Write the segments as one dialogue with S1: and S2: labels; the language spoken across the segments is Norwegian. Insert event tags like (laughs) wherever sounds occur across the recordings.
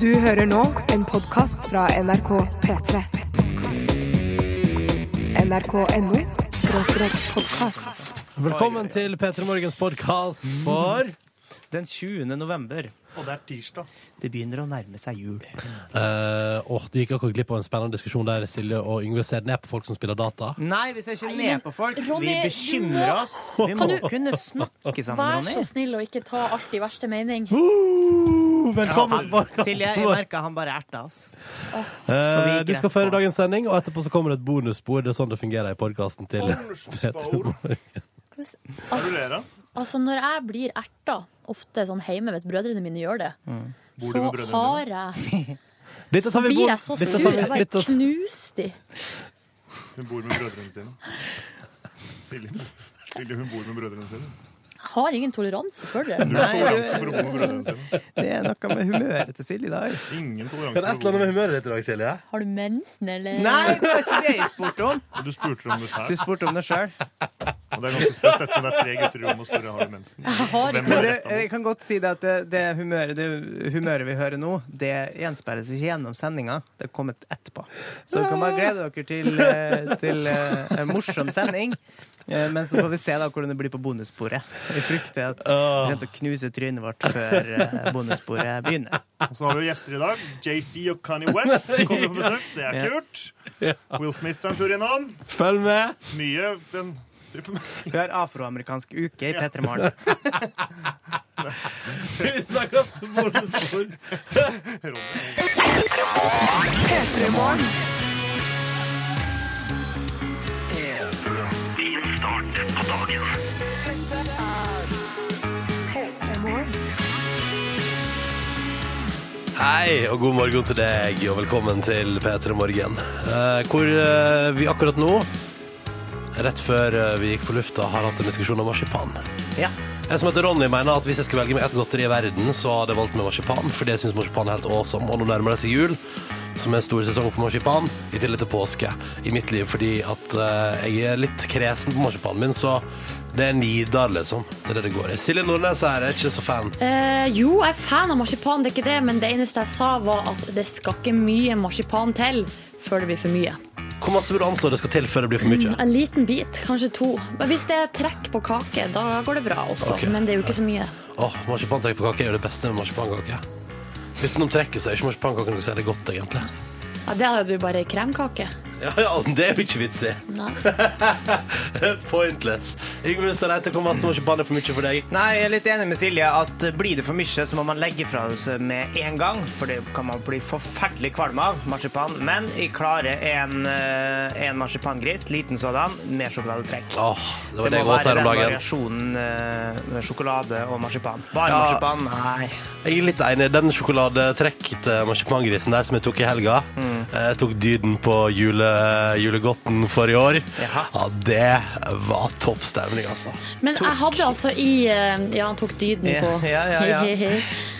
S1: Du hører nå en podkast fra NRK P3. NRK.no skråstrek podkast.
S2: Velkommen til P3 Morgens podkast for
S3: Den 20. november.
S4: Og det er
S2: (laughs)
S4: tirsdag.
S3: Det begynner å nærme seg jul.
S2: Eh, Åh, Du gikk akkurat glipp av en spennende diskusjon der Silje og Yngve ser ned på folk som spiller data.
S3: Nei, vi ser ikke
S5: men
S3: ned på folk. Vi
S5: Ronny,
S3: bekymrer
S5: du må-
S3: oss. Vi må
S5: Kan du-
S3: kunne snakke sammen,
S5: Vær så
S3: Ronny.
S5: snill og ikke ta alt i verste mening.
S2: velkommen til
S3: Silje, jeg merka han bare erta oss.
S2: Eh,
S3: vi
S2: du skal
S3: grep
S2: føre
S3: på.
S2: dagens sending, og etterpå så kommer det et bonusbord. Det er sånn det fungerer i podkasten til
S4: Bonusbord. Er du
S5: Altså,
S4: lera?
S5: altså Når jeg blir erta, ofte sånn hjemme hvis brødrene mine gjør det,
S4: Bor
S5: så
S4: du med brødrene
S5: har jeg,
S2: Dette tar vi
S5: blir
S2: bon-
S5: jeg så
S2: dette tar
S5: sur.
S2: vi-
S3: sånn-
S5: Jeg bare
S2: dette-
S5: knuste de.
S4: Hun bor med brødrene sine. Silje, Silje hun bor med brødrene sine.
S5: Jeg har ingen toleranse for det.
S4: Null toleranse for å bo med brødrene sine.
S3: Det er noe med humøret til Silje i dag.
S4: Ingen
S2: Men
S4: toleranse
S2: et eller
S4: for å
S2: annet
S4: bo
S2: med humøret ditt i dag, Silje.
S5: Har du mensen, eller?
S3: Nei, det var ikke det jeg spurte om.
S4: med Du spurte om det
S3: Du
S4: her.
S3: spurte om det sjøl.
S4: Og det er ganske spett ettersom det er tre gutter i rommet og spørre har du mensen.
S5: Jeg har
S4: Hvem
S5: ikke
S4: har rett av
S3: Jeg kan godt si det at det, det, humøret, det humøret vi hører nå, det gjenspeiles ikke gjennom sendinga. Det er kommet etterpå. Så dere kan bare glede dere til, eh, til eh, en morsom sending. Eh, Men så får vi se da hvordan det blir på bonussporet. Jeg frykter at vi kommer til å knuse trynet vårt før eh, bonussporet begynner.
S4: Og Så har vi jo gjester i dag. JC og
S2: (laughs)
S4: Kanye West kommer på besøk. Det er kult. Will Smith er en tur innom.
S2: Følg med!
S4: Mye den driver med.
S3: Vi har afroamerikansk uke i P3 Morgen.
S2: Vi snakker om bonusbord.
S4: Ronny.
S1: P3morgen.
S2: Hei, og god morgen til deg, og velkommen til P3 Morgen. Eh, hvor eh, vi akkurat nå, rett før eh, vi gikk på lufta, har hatt en diskusjon om marsipan.
S3: Ja.
S2: Jeg som heter Ronny mener at hvis jeg skulle velge meg ett godteri i verden, så hadde jeg valgt meg marsipan, fordi jeg syns marsipan er helt awesome. Og nå nærmer det seg jul, som er stor sesong for marsipan, i tillegg til påske i mitt liv, fordi at eh, jeg er litt kresen på marsipanen min, så det er Nidar, liksom. Det er det det går i. Silje Nordnes er jeg ikke så fan.
S5: Eh, jo, jeg er fan av marsipan, det er ikke det, men det eneste jeg sa, var at det skal ikke mye marsipan til før det blir for mye.
S2: Hvor masse vil du anslå det skal til før det blir for
S6: Mm,
S2: mye?
S5: En liten bit, kanskje to. Men hvis det er trekk på kake, da går det bra
S6: altså,
S5: også.
S2: Ok.
S5: Men det er jo ikke så mye.
S2: Åh, marsipantrekk på kake er jo det beste med marsipankake. Utenom trekket så er ikke marsipankake noe særlig godt, egentlig. (laughs)
S5: Ja, det er jo bare kremkake.
S2: Ja, ja, det er jo ikke vits i. (laughs)
S5: Nei.
S2: Pointless. Yngve Hustad Reite, hvor masse marsipan er for mye for deg?
S3: Nei, jeg er litt enig med Silje at blir det for mye, så må man legge fra seg med en gang. For det kan man bli forferdelig kvalm av, marsipan. Men jeg klarer en, eh, en marsipangris, liten sådan, med sjokoladetrekk.
S2: Åh, det var det
S3: Det
S2: jeg åt
S3: må være
S2: her
S3: den
S2: om dagen.
S3: variasjonen eh, med sjokolade og marsipan. Bare
S2: Ja.
S3: marsipan, nei.
S2: Jeg er litt enig. Den sjokoladetrekkete marsipangrisen der som jeg tok i helga, jeg tok dyden på jule, julegodten for i år.
S3: Jaha.
S2: Ja, det var topp stemning, altså.
S5: Men jeg hadde altså i eh, Ja, han tok dyden
S3: Ja,
S5: på
S3: (laughs) ja, ja, ja.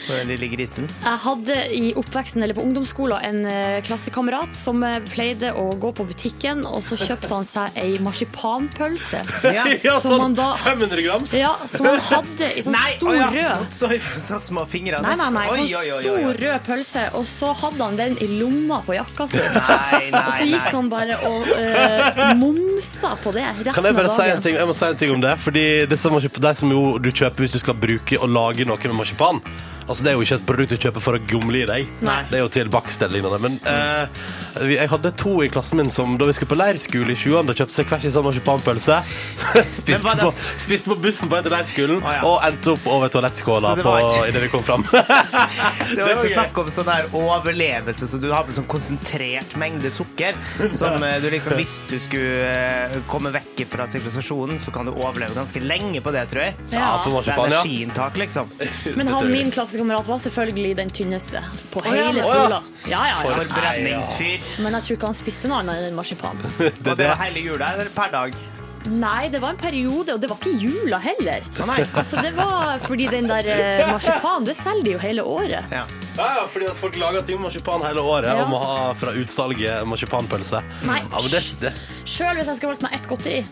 S3: For den lille grisen.
S5: (laughs) Jeg hadde i oppveksten eller på ungdomsskolen en eh, klassekamerat som eh, pleide å gå på butikken, og så kjøpte han seg ei marsipanpølse.
S3: Ja.
S2: Ja,
S5: Som man
S2: sånn
S5: da-
S2: 500 grams.
S5: Ja, som han hadde i
S3: (laughs)
S5: sånn
S3: Nei,
S5: stor
S3: å ja.
S5: rød.
S3: Så, så små fingrene.
S5: Nei, nei, nei.
S3: Oi,
S5: Sånn
S3: oi, oi, oi.
S5: stor rød pølse, og så hadde han den i lomma på jakka si.
S3: Nei, nei,
S5: Og så
S3: nei.
S5: gikk han bare og eh, momsa på det
S2: Kan
S5: resten
S2: jeg
S5: av
S2: bare si en
S5: dagen.
S2: ting, jeg må si en ting om det? Fordi disse marsip- de som jo du kjøper hvis du skal bruke og lage noe med marsipan Altså Det er jo ikke et produkt du kjøper for å gomle i deg.
S5: Nei.
S2: Det er jo til bakst eller lignende. Men eh, vi- jeg hadde to i klassen min som da vi skulle på leirskole i 7. da kjøpte seg hver sin sånn
S3: (laughs)
S2: marsipanpølse. spiste,
S3: Men var det- altså?
S2: på, spiste på bussen på vei til leirskolen
S3: Å, ja.
S2: og endte opp over toalettskåla
S3: Så det var
S2: på-
S3: ikke-
S2: idet vi kom
S3: (laughs)
S2: fram.
S3: Det var
S2: Det var
S3: ikke
S2: gøy.
S3: snakk om sånn der overlevelse, så du har på en sånn konsentrert mengde sukker. Som eh, du liksom, hvis du skulle eh, komme vekk fra sivilisasjonen, så kan du overleve ganske lenge på det, tror jeg.
S2: ja, på
S3: Det er
S2: marsipan, ja.
S3: energiinntak, liksom.
S5: Men
S2: Det tror
S5: han
S2: jeg.
S5: min klassekamerat var selvfølgelig den tynneste på
S3: ja,
S5: hele
S3: å ja.
S5: skolen. Ja, ja, ja.
S3: Forbrenningsfyr.
S5: Men jeg tror ikke han spiste noe annet enn marsipan.
S2: Det,
S3: Og det var hele jula eller per dag.
S5: Nei, det var en periode, og det var ikke i jula heller.
S3: Å nei.
S5: Altså, det var fordi den der eh, marsipanen, det selger de jo hele året.
S3: Ja.
S2: Ja, ja, fordi at folk lager ting med marsipan hele året
S5: Ja.
S2: og må ha fra utsalget marsipanpølse.
S5: Nei.
S2: Ja, men det, det.
S5: Sjøl hvis jeg skulle valgt meg ett godteri,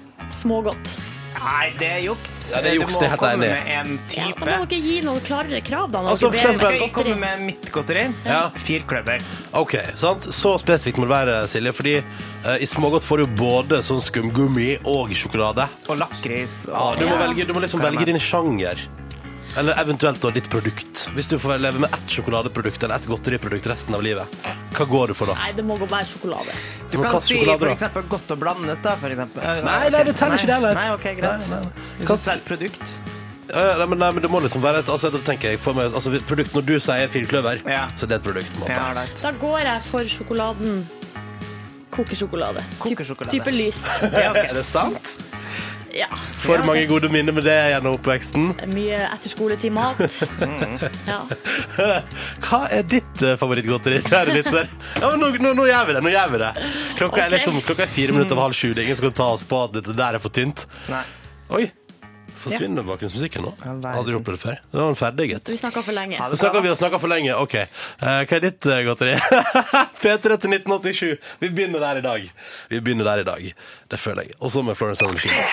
S5: smågodt.
S3: Nei, det er juks.
S2: Ja, det er juks,
S3: du må
S2: det er helt
S3: komme
S2: enig.
S3: med en
S5: Ja, da
S3: type.
S5: må dere gi noen klarere krav, da. når
S2: Altså, for
S5: dere ber om
S2: eksempel-
S3: Skal jeg
S5: godteri.
S3: komme med mitt godteri?
S2: Ja.
S3: Firkløver.
S2: Ok, sant? Så spesifikt må det være, Silje, fordi eh, i smågodt får du både sånn skumgummi og sjokolade.
S3: Og lakris.
S2: Ja,
S3: Og
S2: du, må
S5: Ja.
S2: velge, du må liksom
S3: Kan
S2: velge
S3: jeg-
S2: din sjanger. Eller eventuelt da ditt produkt. Hvis du får leve med ett sjokoladeprodukt eller ett godteriprodukt resten av livet, hva går du for da?
S5: Nei, det må gå bare sjokolade.
S3: du
S2: Men
S3: kan
S2: hva
S3: si
S2: sjokolade
S3: for
S2: da?
S3: eksempel godt og blandet, da. For eksempel.
S2: Nei,
S3: Eh,
S2: nei,
S3: ok.
S2: det teller ikke det heller.
S3: Nei, ok,
S2: Nei,
S3: greit.
S2: nei, nei.
S3: Hvis du selger produkt.
S2: Eh, nei, men, nei, men det må liksom være et altså, da tenker jeg, for meg, altså, produkt, Når du sier firkløver,
S3: Ja.
S2: så det er et produkt. på en måte.
S3: Ja, right.
S5: Da går jeg for sjokoladen kokesjokolade.
S3: Kokesjokolade.
S5: Type lys.
S3: Ja, ok.
S2: Er det sant?
S5: Ja.
S2: For mange gode minner med det gjennom oppveksten.
S5: Mye etterskoletid-mat. Ja.
S2: Hva er ditt eh, favorittgodteri, kjære lytter? Ja, men nå, nå, nå gjør vi det. nå gjør vi det. Klokka, er
S5: Ok.
S2: liksom, klokka er fire minutter over halv sju. Det er ingen som kan ta oss på at dette der er for tynt.
S3: Nei.
S2: Oi, forsvinner bakgrunnsmusikken nå?
S3: Ja, verden.
S2: Hadde du opplevd det før? Da var den ferdig, gitt.
S5: Vi snakka for lenge.
S3: Ha
S2: Nå
S3: det
S2: snakker vi
S3: bra.
S2: og snakker for lenge. OK. Eh, hva er ditt eh, godteri? (laughs) P3 til 1987. Vi begynner der i dag. Vi begynner der i dag. Det føler jeg. Og så med Florence and the Machine.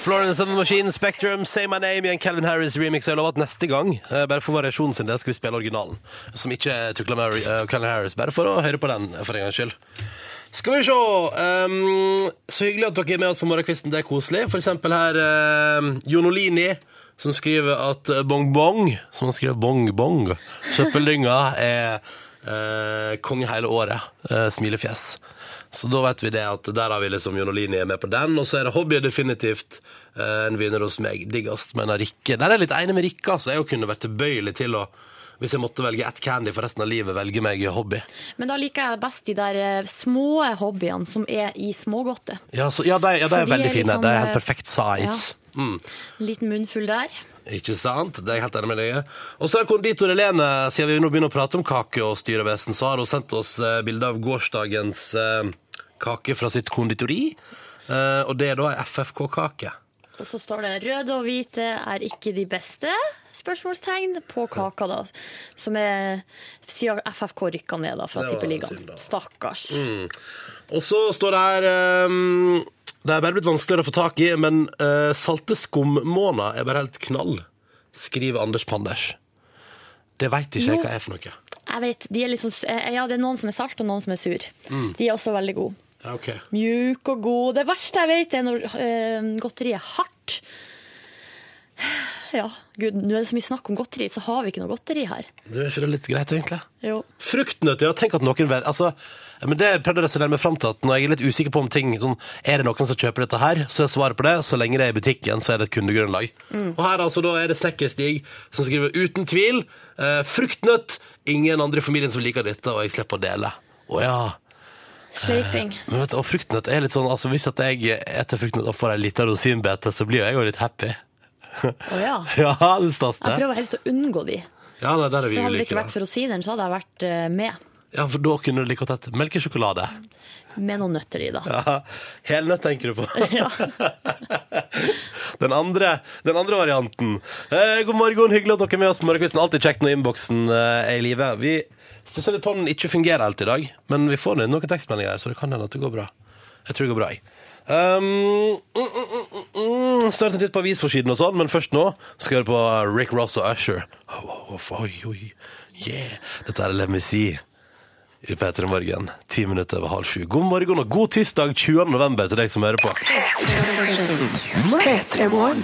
S2: Florence and the Machine, Spectrum, Say My Name i en Calvin Harris remix. Jeg lover at neste gang, eh, bare for variasjonen sin del, skal vi spille originalen. Som ikke er tukla med eh, Calvin Harris. Bare for å høre på den, eh, for en gangs skyld. Skal vi se. ehm, så hyggelig at dere er med oss på morgenkvisten. Det er koselig. For eksempel her ehm, Jon Olini, som skriver at eh, Bong Bong, som han skriver Bong Bong, søppeldynga er eh, konge hele året. Eh, smilefjes. Så da vet vi det at der har vi liksom Jon Olini er med på den. Og så er det hobby definitivt eh, en vinner hos meg. Diggast, mener Rikke. Der er jeg litt enig med Rikke, altså. Jeg kunne vært tilbøyelig til å, hvis jeg måtte velge ett candy for resten av livet, velge meg hobby.
S5: Men da liker jeg best de der eh, små hobbyene som er i smågodtet.
S2: Ja, så, ja, de, ja, de er
S5: For de er
S2: veldig
S5: litt
S2: fine.
S5: sånn,
S2: de er
S5: eh,
S2: helt perfekt size. Mm.
S5: En liten munnfull der.
S2: Ikke sant? Det er jeg helt enig med deg i. Og så er konditor Helene, siden vi nå begynner å prate om kake og styrevesen, så har hun sendt oss eh, bilde av gårsdagens eh, kake fra sitt konditori. Eh, og det er da ei FFK-kake.
S5: Og så står det 'røde og eh, hvite er ikke de beste'? Spørsmålstegn på kaka, da. Som er siden FFK rykka ned da fra
S2: Det var synd, da. Mm.
S5: tippeligaen. Stakkars.
S2: Og så står det her eh, Det er bare blitt vanskeligere å få tak i, men eh, salte skummåner er bare helt knall, skriver Anders Panders. Det veit ikke jeg hva er for noe.
S5: Jeg vet, de er litt sånn, su- eh, ja, Det er noen som er salt, og noen som er sur.
S2: Mm.
S5: De er også veldig gode.
S2: Ja, ok.
S5: Mjuk og god. Det verste jeg vet, er når eh, godteri er hardt. Ja, gud, nå er det så mye snakk om godteri, så har vi ikke noe godteri her.
S2: Du, er ikke det litt greit, egentlig?
S5: Jo.
S2: Fruktnøtter, ja. Tenk at noen vel, altså, men Det prøvde jeg å resonnere meg fram til. at Når jeg er litt usikker på om ting sånn, Er det noen som kjøper dette her, så er svaret på det. Så lenge det er i butikken, så er det et kundegrunnlag.
S5: Mm.
S2: Og her altså, da er det Snekkerstig som skriver uten tvil eh, fruktnøtt. Ingen andre i familien som liker dette, og jeg slipper å dele. Å ja.
S5: Sleiping.
S2: Men vet du, og fruktnøtt er litt sånn altså, Hvis at jeg etter fruktnøtt og får ei lita rosinbete, så blir jo jeg jo litt happy. (laughs)
S5: Å ja.
S2: Ja, det stas
S5: Jeg
S2: det.
S5: prøver helst å unngå de.
S2: Ja, nei, der er vi
S5: For hadde det
S2: ulike,
S5: ikke vært
S2: da.
S5: for rosineren, så hadde jeg vært eh, med.
S2: Ja, for da kunne du like godt hett melkesjokolade.
S5: Med noen nøtter i, da.
S2: Ja, (laughs) Helnøtt tenker du på.
S5: Ja.
S2: (laughs) Den andre, den andre varianten. Eh, god morgen, hyggelig at dere er med oss på morgenkvisten. Alltid kjekt når innboksen eh, er i live. Vi stusser litt på om den ikke fungerer helt i dag, men vi får ned noen tekstmeldinger, her, så det kan hende at det går bra. Jeg tror det går bra, jeg. Um, mm, mm, mm, mm, mm. Snart en titt på avisforsiden og sånn, men først nå skal vi høre på Rick Ross og Usher. Oh, oh, oh, oi, oi, yeah. Dette er Let Me See i P3 Morgen, ti minutter over halv sju. God morgen og god tirsdag 20. november til deg som hører på.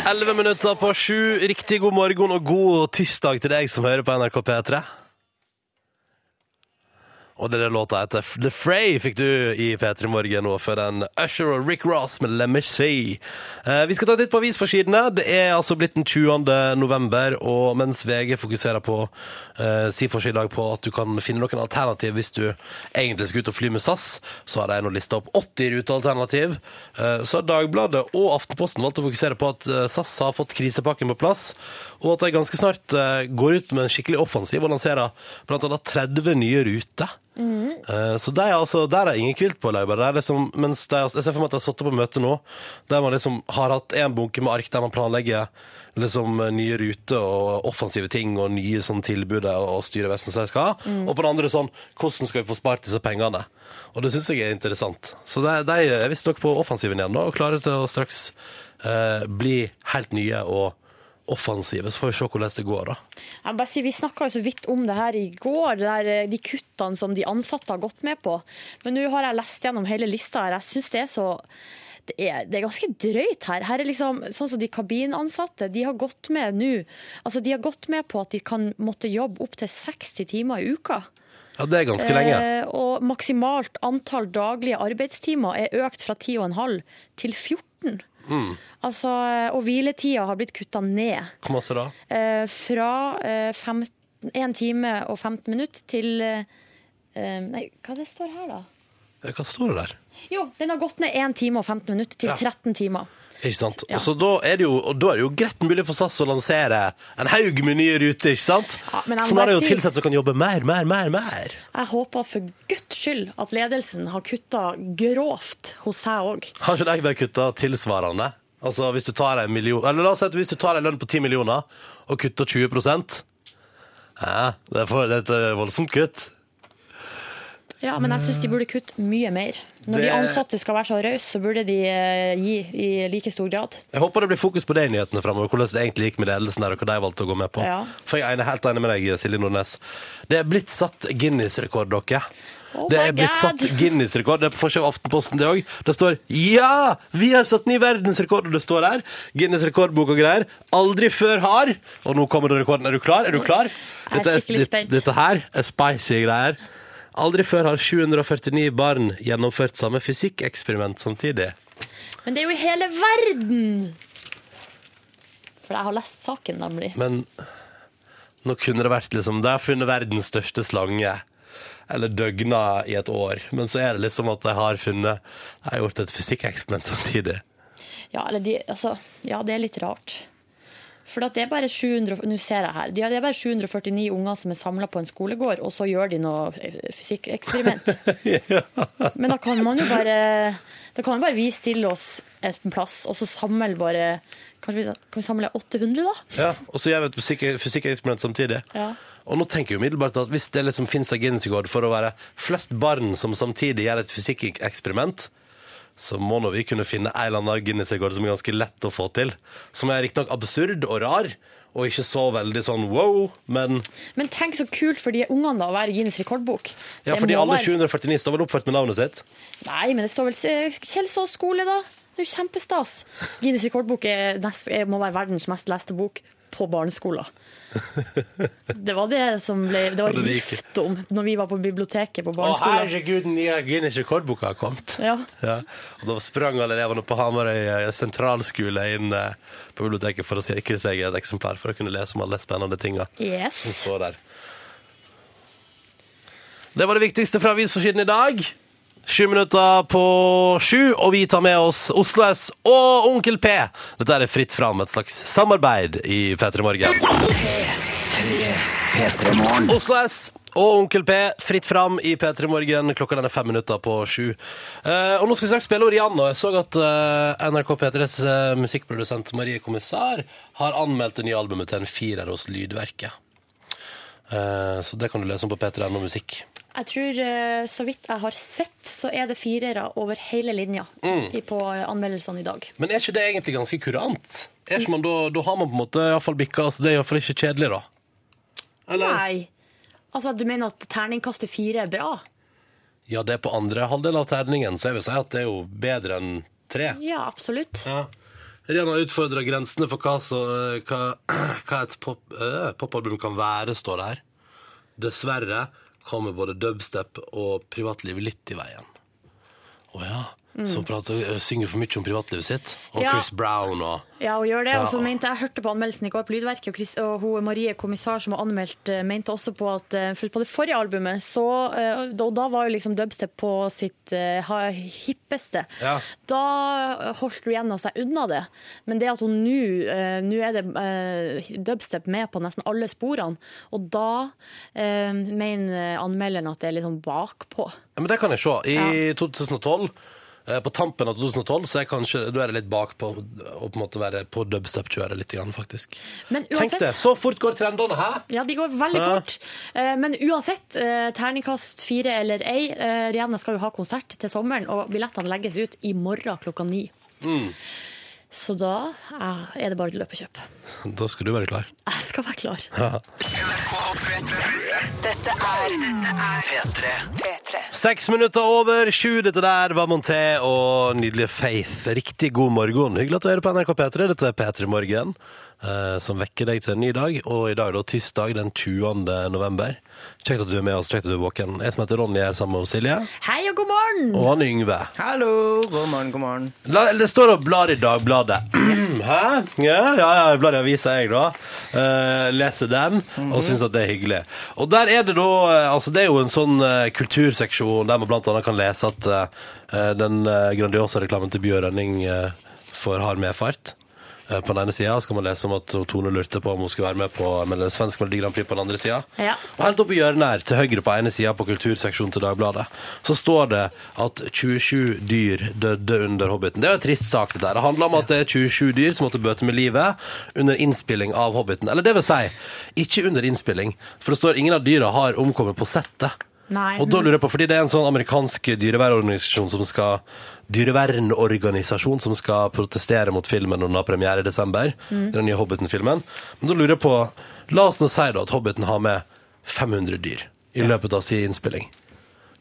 S2: Elleve minutter på sju. Riktig god morgen og god tirsdag til deg som hører på NRK P3. Og det er det låta heter The Fray fikk du i P3 Morgen nå for den Usher og Rick Ross med Lemmer Say. Eh, vi skal ta litt på avisforsidene. Det er altså blitt den 20. november, og mens VG fokuserer på eh, si forside i dag på at du kan finne noen alternativ hvis du egentlig skal ut og fly med SAS, så har de nå lista opp 80 rutealternativ. Eh, så har Dagbladet og Aftenposten valgt å fokusere på at eh, SAS har fått krisepakken på plass, og at de ganske snart eh, går ut med en skikkelig offensiv og lanserer blant annet 30 nye ruter. Eh, Så de, er altså, der er ingen kvilt på Lauber. Der er liksom, mens de, jeg ser for meg at de har satt opp et møte nå, der man liksom har hatt en bunke med ark der man planlegger liksom nye ruter og offensive ting og nye sånn tilbud og styrevesen som de skal ha. Og på den andre sånn, hvordan skal vi få spart disse pengene? Og det syns jeg er interessant. Så de, de er visstnok på offensiven igjen nå, og klarer til å straks eh, bli helt nye og offensive. Så får vi se hvordan det går, da.
S6: Jeg må bare si, Vi snakka så vidt om det her i går, det der, eh, de kuttene som de ansatte har gått med på. Men nå har jeg lest gjennom hele lista her. Jeg syns det er så det er, det er ganske drøyt her. Her er liksom, sånn som De kabinansatte de har gått med nå altså de har gått med på at de kan måtte jobbe opptil 60 timer i uka.
S2: Ja, det er ganske lenge.
S6: Eh, og maksimalt antall daglige arbeidstimer er økt fra 10,5 til 14. Altså, og hviletida har blitt kutta ned
S2: Hvor masse da?
S6: eh, fra eh, fem, 1 time og 15 minutter til eh, eh, Nei, hva det står her, da?
S2: Hva står det der?
S6: Jo, den har gått ned 1 time og 15 minutter til
S2: Ja.
S6: 13 timer.
S2: Ikke sant?
S6: Ja.
S2: Så da er, det jo, og da er det jo greit mulig for SAS å lansere en haug med nye ruter, ikke sant?
S6: Ja, men jeg må
S2: for nå er det
S6: bare
S2: jo
S6: si-
S2: tilsatte som kan jobbe mer, mer, mer, mer.
S6: Jeg håper for guds skyld at ledelsen har kutta grovt hos seg òg.
S2: Har ikke de bare kutta tilsvarende? Altså hvis du tar en million Eller la oss si at hvis du tar en lønn på 10 millioner og kutter 20 ja, det, er for, det er et voldsomt kutt.
S6: Ja, men jeg syns de burde kutte mye mer. Når
S2: Det-
S6: de ansatte skal være så rause, så burde de eh, gi i like stor grad.
S2: Jeg håper det blir fokus på det i nyhetene fremover, hvordan det egentlig gikk med ledelsen der, og hva de valgte å gå med på.
S6: Ja.
S2: For jeg er helt enig med deg, Silje Nordnes. Det er blitt satt Guinness-rekord, dere.
S6: Oh
S2: det
S6: my
S2: er blitt
S6: God. (laughs)
S2: satt Guinness-rekord. Det er på forsiden av Aftenposten, det òg. Det står 'Ja! Vi har satt ny verdensrekord', og det står der. Guinness-rekordbok og greier. Aldri før har Og nå kommer det rekorden. Er du klar? Er du klar?
S6: Jeg er skikkelig spent.
S2: Dette her er spicy greier. Aldri før har 749 barn gjennomført samme fysikkeksperiment samtidig.
S6: Men det er jo i hele verden! For jeg har lest saken, nemlig.
S2: Men nå kunne det vært liksom De har funnet verdens største slange. Eller døgna i et år. Men så er det liksom at de har funnet De har gjort et fysikkeksperiment samtidig.
S6: Ja, eller de, altså, ja, det er litt rart. For at det er bare 700, og- nå ser jeg her, De har- det er bare 749 unger som er samla på en skolegård, og så gjør de noe eh, fysikkeksperiment. Men da kan man jo bare da kan man bare vi stille oss en plass, og så samle bare Kanskje vi, kan vi samle 800, da?
S2: Ja, og så gjør vi et fysikk- fysikkeksperiment samtidig.
S6: Ja.
S2: Og nå tenker jeg umiddelbart at hvis det liksom finnes en Guinness-rekord for å være flest barn som samtidig gjør et fysikkeksperiment, så må nå vi kunne finne en eller annen Guinness-rekord som er ganske lett å få til. Som er riktignok absurd og rar, og ikke så veldig sånn wow, men
S6: Men tenk så kult for de ungene da å være i Guinness rekordbok.
S2: Ja,
S6: Det
S2: fordi
S6: må
S2: alle
S6: være-
S2: 749 står vel oppført med navnet sitt.
S6: Nei, men det står vel eh, Kjelsås skole, da. Det er jo kjempestas. Guinness rekordbok er nest, er- må være verdens mest leste bok på barneskolen. Det var det som ble Det var
S2: Ja, det gikk.
S6: rift om når vi var på biblioteket på barneskolen.
S2: herregud, den nye Guinness-rekordboka har kommet.
S6: Ja.
S2: Ja. Og da sprang alle elevene på Hamarøy eh, sentralskole inn eh, på biblioteket for å sikre seg et eksemplar for å kunne lese om alle de spennende tinga som
S6: Yes.
S2: står der. Det var det viktigste fra avisforsiden i dag. Sju minutter på sju, og vi tar med oss Oslo S og Onkel P. Dette er fritt fram, et slags samarbeid i P3 Morgen. Oslo S og Onkel P, fritt fram i P3 Morgen. Klokka den er fem minutter på sju. Eh, og nå skal vi straks spille Orianna. Jeg så at eh, NRK P3s eh, musikkprodusent Marie Kommissar har anmeldt det nye albumet til en firer hos Lydverket. Eh, så det kan du lese om på p3.no musikk.
S6: Jeg tror, eh, så vidt jeg har sett, så er det firere over hele linja
S2: Mm.
S6: i- på eh, anmeldelsene i dag.
S2: Men er ikke det egentlig ganske kurant? Er ikke man, da, da har man på en måte iallfall bikka, så altså det er iallfall ikke kjedelig, da. Eller?
S6: Nei. Altså, du mener at terningkastet fire er bra?
S2: Ja, det er på andre halvdel av terningen, så jeg vil si at det er jo bedre enn tre.
S6: Ja, absolutt.
S2: Ja. Rihanna utfordrer grensene for hva, så, eh, hva, (clears throat) hva et pop- øh, popalbum kan være, står det her. Dessverre kommer både dubstep og privatliv litt i veien. Å ja. som prater, ø, synger for mye om privatlivet sitt. Og
S5: Ja.
S2: Chris Brown og
S5: Ja, hun gjør det. Og så
S2: Ja.
S5: mente jeg hørte på anmeldelsen i går på Lydverket, og, Chris, og hun, Marie Kommissar som har anmeldt, eh, mente også på at eh, for på det forrige albumet, så, eh, da- og da var jo liksom dubstep på sitt eh, ha- hippeste.
S2: Ja.
S5: Da holdt Rihanna seg unna det. Men det at hun nå eh, nå er det eh, dubstep med på nesten alle sporene, og da eh, mener anmelderen at det er litt sånn bakpå.
S2: Ja, men det kan jeg se. I 2012, eh, på tampen av 2012, så er jeg kanskje, da er det litt bakpå å på en måte være på dubstep-kjøret litt, grann, faktisk.
S5: Men
S2: Tenk
S5: uansett
S2: det, så fort går trendene her!
S5: Ja, de går veldig
S2: Ja.
S5: fort. Eh, Men uansett, eh, terningkast fire eller ei, eh, Rihanna skal jo ha konsert til sommeren, og billettene legges ut i morgen klokka ni.
S2: Mm.
S5: Så da eh, er det bare til å løpe og kjøpe.
S2: Da skal du være klar.
S5: Jeg skal være klar.
S6: Dette er P3. P3.
S2: Seks minutter over sju. Dette der var Monté og nydelige Faith. Riktig god morgen. Hyggelig at du hører på NRK P3. Dette er P3 Morgen, eh, som vekker deg til en ny dag. Og i dag er det tirsdag den 20. november. Kjekt at du er med oss. Kjekt at du er våken. Jeg som heter Ronny, er sammen med Silje.
S5: Hei og god morgen!
S2: Og han Yngve.
S3: Hallo! God morgen, god morgen.
S2: La, det står og blar i Dagbladet. (clears throat) Hæ? Ja, ja, ja, jeg blar i avisa, jeg, da. Eh, leser den og syns at det er hyggelig. Og der er det da eh, Altså, det er jo en sånn eh, kulturseksjon der man blant annet kan lese at eh, den eh, grandiosa reklamen til Bjørn Rønning eh, for hard medfart eh, på den ene sida skal man lese om at Tone lurte på om hun skulle være med på med den svenske Melodi Grand Prix på den andre sida.
S5: Ja.
S2: Og helt oppe i hjørnet her, til høyre på ene sida på kulturseksjonen til Dagbladet, så står det at 27 dyr døde under Hobbiten. Det er jo en trist sak, dette. her. Det handler om at det er 27 dyr som måtte bøte med livet under innspilling av Hobbiten. Eller det vil si, ikke under innspilling, for det står ingen av dyra har omkommet på settet.
S5: Nei.
S2: Og da lurer jeg på, fordi det er en sånn amerikansk dyrevernorganisasjon som skal dyrevernorganisasjon som skal protestere mot filmen når den har premiere i desember, den nye Hobbiten-filmen. Men da lurer jeg på, la oss nå si da at Hobbiten har med 500 dyr i løpet av sin innspilling.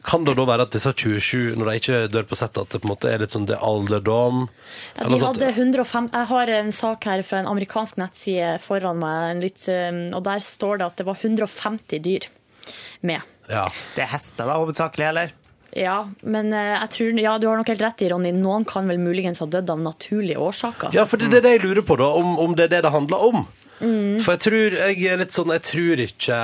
S2: Kan det da være at disse 27, når de ikke dør på settet, at det på en måte er litt sånn det er alderdom?
S5: Ja,
S2: Eller
S5: de
S2: sånn at-
S5: hadde 105, jeg har en sak her fra en amerikansk nettside foran meg, en litt, eh, og der står det at det var 150 dyr med.
S2: Ja.
S3: Det er hester, da, hovedsakelig, eller?
S5: Ja, men eh, jeg tror, ja, du har nok helt rett i, Ronny. Noen kan vel muligens ha dødd av naturlige årsaker.
S2: Ja, for det det er det jeg lurer på, da. Om, om det er det det handler om. For jeg tror jeg er litt sånn Jeg tror ikke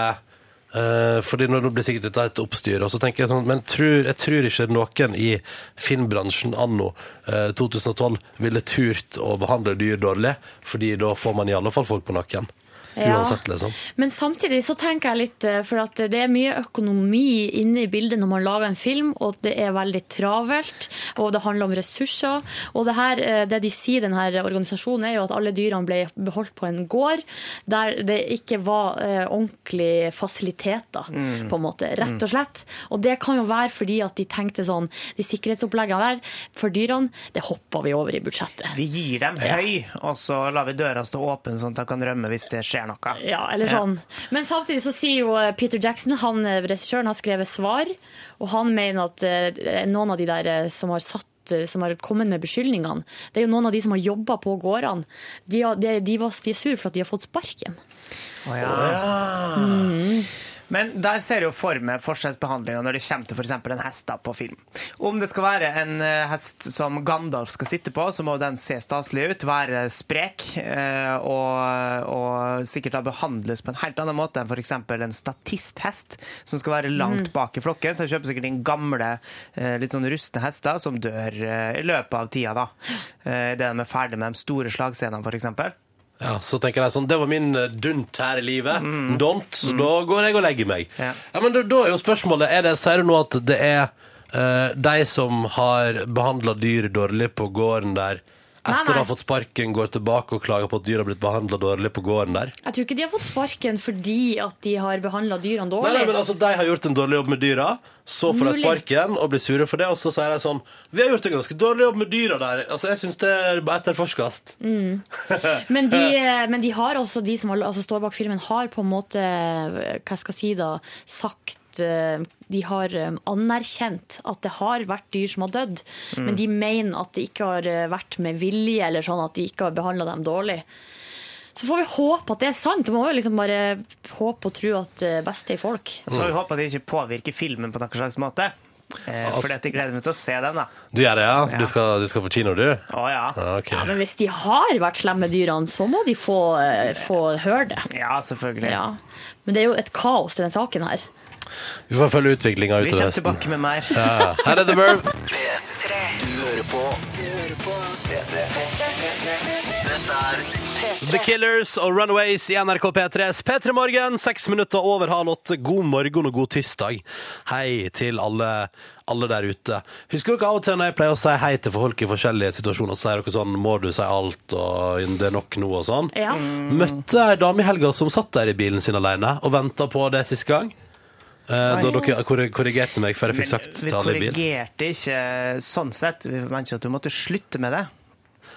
S2: eh, Fordi nå nå blir sikkert dette et oppstyr, og så tenker jeg sånn Men tror, jeg tror ikke noen i filmbransjen anno eh, 2012 ville turt å behandle dyr dårlig, fordi da får man i alle fall folk på nakken.
S5: Ja.
S2: Uansett, liksom.
S5: Men samtidig så tenker jeg litt, eh, for at det er mye økonomi inne i bildet når man lager en film, og det er veldig travelt, og det handler om ressurser. Og det, her, eh, det de sier, denne organisasjonen, er jo at alle dyrene ble beholdt på en gård der det ikke var eh, ordentlige fasiliteter, på en måte, rett og slett. Og det kan jo være fordi at de tenkte sånn, de sikkerhetsoppleggene der for dyrene, det hopper vi over i budsjettet.
S3: Vi gir dem høy, og så lar vi døra stå åpen, sånn at de kan rømme hvis det skjer noe.
S5: Ja, eller
S3: Ja.
S5: sånn. Men samtidig så sier jo eh, Peter Jackson, han eh, regissøren, har skrevet svar, og han mener at eh, noen av de der eh, som har satt eh, som har kommet med beskyldningene. Det er jo noen av de som har jobba på gårdene. De, har, de, de, var, de er sur for at de har fått sparken.
S3: Å, ja. Mm. Men der ser jeg jo for meg forskjellsbehandlinga når det kommer til f.eks. en hest da på film. Om det skal være en eh, hest som Gandalf skal sitte på, så må den se staselig ut, være sprek eh, og, og sikkert da behandles på en helt annen måte enn f.eks. en statisthest som skal være langt bak i flokken. Så jeg kjøper sikkert inn gamle, eh, litt sånn rustne hester som dør eh, i løpet av tida, da. Eh, Idet de er ferdig med de store slagscenene, f.eks.
S2: Ja, så tenker jeg sånn, Det var min eh, dunt her i livet. Don't. Så da går jeg og legger meg. Mm. Ja,
S3: Ja.
S2: Men da, da er jo spørsmålet er det, Sier du nå at det er eh, de som har behandla dyr dårlig på gården der,
S5: Nei,
S2: etter å
S5: nei.
S2: ha fått sparken, går tilbake og klager på at dyr har blitt behandla dårlig på gården der?
S5: Jeg tror ikke de har fått sparken fordi at de har behandla dyrene
S2: Nei,
S5: dårlig.
S2: nei, men altså, De har gjort en dårlig jobb med dyra, så får de
S5: Mulig.
S2: sparken og blir sure for det. Og så sier de sånn Vi har gjort en ganske dårlig jobb med dyra der. Altså, Jeg syns det er etterforskast.
S5: Men de, eh, men de har også, de som har- altså står bak filmen, har på en måte eh, hva skal jeg si da, sagt eh, De har eh, anerkjent at det har vært dyr som har dødd, men de mener at det ikke har eh, vært med vilje, eller sånn at de ikke har behandla dem dårlig. Så får vi håpe at det er sant. Vi må jo liksom bare håpe og tro at det beste er i folk.
S2: Mm.
S3: Så vi håper at det ikke påvirker filmen på noen slags måte. Eh, for dette gleder jeg meg til å se den, da.
S2: Du gjør det, ja? Du
S3: Ja.
S2: skal, du skal på kino, du?
S3: Å ja.
S2: Ja, Ok.
S5: Ja, men hvis de har vært slemme dyrene, så må de få, eh, få høre det.
S3: Ja, selvfølgelig.
S5: Ja. Men det er jo et kaos, denne saken her.
S2: Vi får følge utviklinga
S3: Vi
S2: utover
S3: kommer
S2: høsten.
S3: tilbake med mer.
S2: Ja. Her er The Verb.
S6: P3. Du hører på
S2: The Killers og Runaways i NRK P3s P3 Morgen, seks minutter over halv åtte. God morgen og god tirsdag. Hei til alle, alle der ute. Husker dere av og til når jeg pleier å si hei til folk i forskjellige situasjoner, så sier dere sånn 'må du si alt', og 'det er nok nå', og sånn.
S5: Ja.
S2: Møtte ei dame i helga som satt der i bilen sin alene og venta på det siste gang. Eh, da dere korri- korrigerte meg før jeg fikk sagt
S3: vi
S2: til alle i bil.
S3: korrigerte ikke sånn sett. Vi mente at du måtte slutte med det.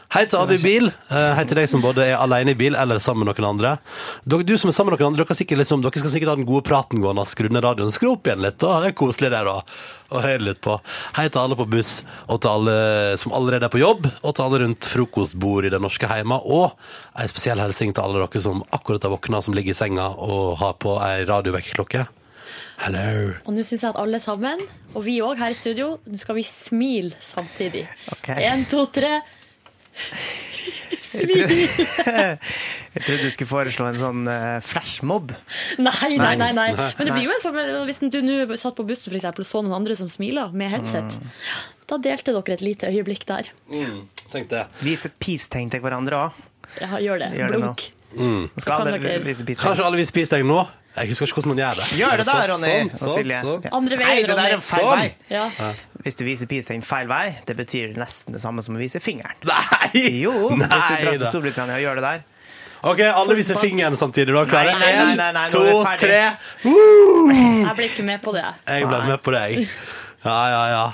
S2: Hei til alle i bil. Eh, Hei til deg som både er alene i bil eller sammen med noen andre. Dere, du som er sammen med noen andre, dere, har sikkert, liksom, dere skal sikkert ha den gode praten gående. Skru ned radioen, skru opp igjen litt. Da. Det er koselig der òg. Og høre litt på. Hei til alle på buss, og til alle som allerede er på jobb, og til alle rundt frokostbord i det norske heima. Og ei spesiell hilsen til alle dere som akkurat har våkna, som ligger i senga og har på ei radiovekkerklokke. Hello.
S5: Og nå syns jeg at alle sammen, og vi òg her i studio, nå skal vi smile samtidig.
S3: Ok.
S5: Én, to, tre. Smil!
S3: Jeg trodde du skulle foreslå en sånn eh, flashmob.
S5: Nei, nei, nei. nei. Men det blir jo en sånn, hvis du nå satt på bussen for eksempel, og så noen andre som smiler med headset, da delte dere et lite øyeblikk der.
S2: Tenk det.
S3: Vise et peace-tegn til hverandre òg.
S5: Ja, gjør det.
S3: Gjør det nå.
S5: Blunk.
S3: Skal
S5: kan
S3: alle
S5: dere-
S3: vise peace-tegn?
S2: Kanskje alle vil spise deg nå? Jeg husker ikke hvordan man gjør det.
S3: Gjør det da, Ronny
S2: Sånn,
S3: og
S2: sånn,
S3: Silje.
S2: sånn.
S3: Ja.
S5: Andre veien,
S3: Nei, det der
S5: Ronny.
S3: er feil
S2: Sånn.
S3: vei.
S5: Ja.
S3: Hvis du viser peace-tegn feil vei, det betyr nesten det samme som å vise fingeren.
S2: Nei!
S3: Jo, hvis du
S2: Nei, da.
S3: drar til Storbritannia og gjør det der.
S2: Ok, alle viser fingeren samtidig. Da klarer
S3: Nei, nei, nei, nei, nei,
S2: En,
S3: nå er
S2: to,
S3: vi ferdig.
S2: tre.
S5: Jeg blir ikke med på det.
S2: Jeg ble med på deg. Ja, ja, ja.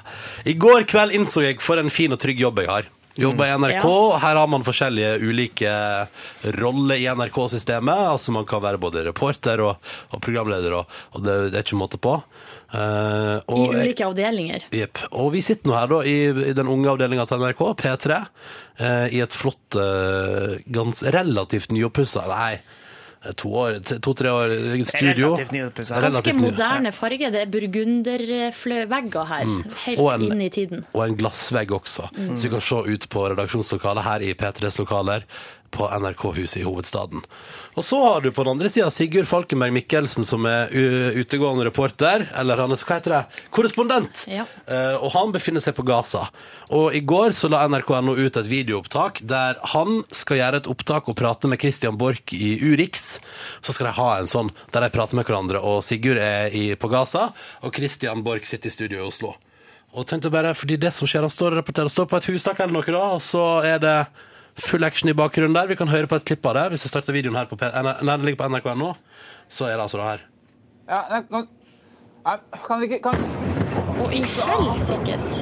S2: I går kveld innså jeg for en fin og trygg jobb jeg har. Jobber i NRK.
S5: Ja.
S2: Her har man forskjellige ulike roller i NRK-systemet. Altså Man kan være både reporter og, og programleder, og, og det, det er ikke måte på. Eh,
S5: I
S2: og jeg-
S5: ulike avdelinger.
S2: Jepp. Og vi sitter nå her da i, i den unge avdelinga til NRK, P3, eh, i et flott, eh, gans, relativt nyoppussa Nei, to-tre år, to, tre år eh, studio.
S3: Relativt nyoppussa.
S5: Ganske
S2: Relativt ny-
S5: moderne farge. Det er burgundervegger her. Helt
S2: Og en-
S5: inn i tiden. Mm.
S2: Og en glassvegg også, så vi kan se ut på redaksjonslokalet her i P3s lokaler på NRK-huset i hovedstaden. Og så har du på den andre sida Sigurd Falkenberg Mikkelsen, som er u- utegående reporter, eller han er, hva heter det, korrespondent.
S5: Ja.
S2: Eh, og han befinner seg på Gaza. Og i går så la NRK.no ut et videoopptak der han skal gjøre et opptak og prate med Christian Borch i Urix. Så skal de ha en sånn der de prater med hverandre, og Sigurd er i, på Gaza, og Christian Borch sitter i studio i Oslo. Og tenkte bare, fordi det som skjer, han står og rapporterer, står på et hustak eller noe da, og så er det full action i bakgrunnen der. Vi kan høre på et klipp av det. Hvis jeg starter videoen her på, P- nei, den ligger på NRK.no, så er det altså det her.
S7: Ja, nei, nå... Nei, kan dere ikke... Kan...
S5: Og i helsikes!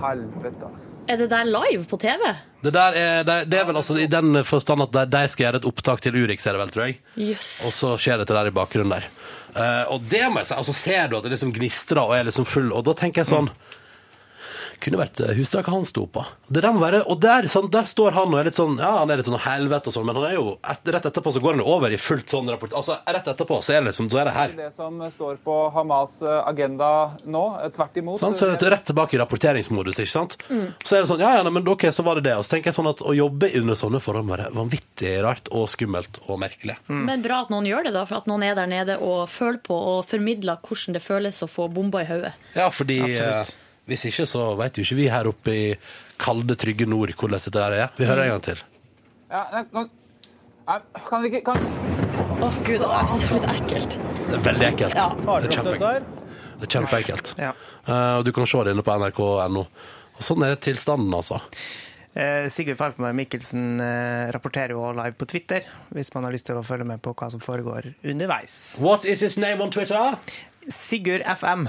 S7: Helvete, ass.
S5: Er det der live på TV?
S2: Det, der er, det, det er vel altså i den forstand at de- de skal gjøre et opptak til Urix, er det vel, tror jeg.
S5: Jøss.
S2: Og så skjer dette der i bakgrunnen der. Eh, og det må jeg si, altså ser du at det liksom gnistrer og er liksom full, og da tenker jeg sånn kunne vært eh, hustaket han sto på. Det der må være, og der, sånn, der står han og er litt sånn Ja, han er litt sånn helvete og sånn, men han er jo et, rett etterpå så går han jo over i fullt sånn rapport. Altså, rett etterpå så er det liksom Så er det her.
S7: Det som står på Hamas eh, agenda nå, eh, tvert imot...
S2: Sant? Så er Sånn det
S7: eh,
S2: rett tilbake i rapporteringsmodus, ikke sant? Så er det sånn, ja, ja, nei, men ok, så var det det. Og så tenker jeg sånn at å jobbe under sånne forhold må være vanvittig rart og skummelt og merkelig.
S5: Men bra at noen gjør det, da. For at noen er der nede og føler på og formidler hvordan det føles å få bomba i hodet.
S2: Ja, fordi eh, hvis ikke så vet jo ikke vi her oppe i kalde, trygge nord hvordan dette der er. Vi hører en gang til.
S7: Ja, nei, nå... Nei, kan dere ikke... Kan...
S5: Å gud, det er så litt ekkelt.
S2: Det er veldig ekkelt.
S5: Ja.
S2: Det er kjempeekkelt. Det er kjempeekkelt.
S3: Ja.
S2: Eh, og du kan se det inne på nrk.no. Og sånn er tilstanden, altså.
S3: Eh, Sigurd Falkenberg Mikkelsen eh, rapporterer jo live på Twitter, hvis man har lyst til å følge med på hva som foregår underveis.
S2: What is his name on Twitter?
S3: Sigurd FM.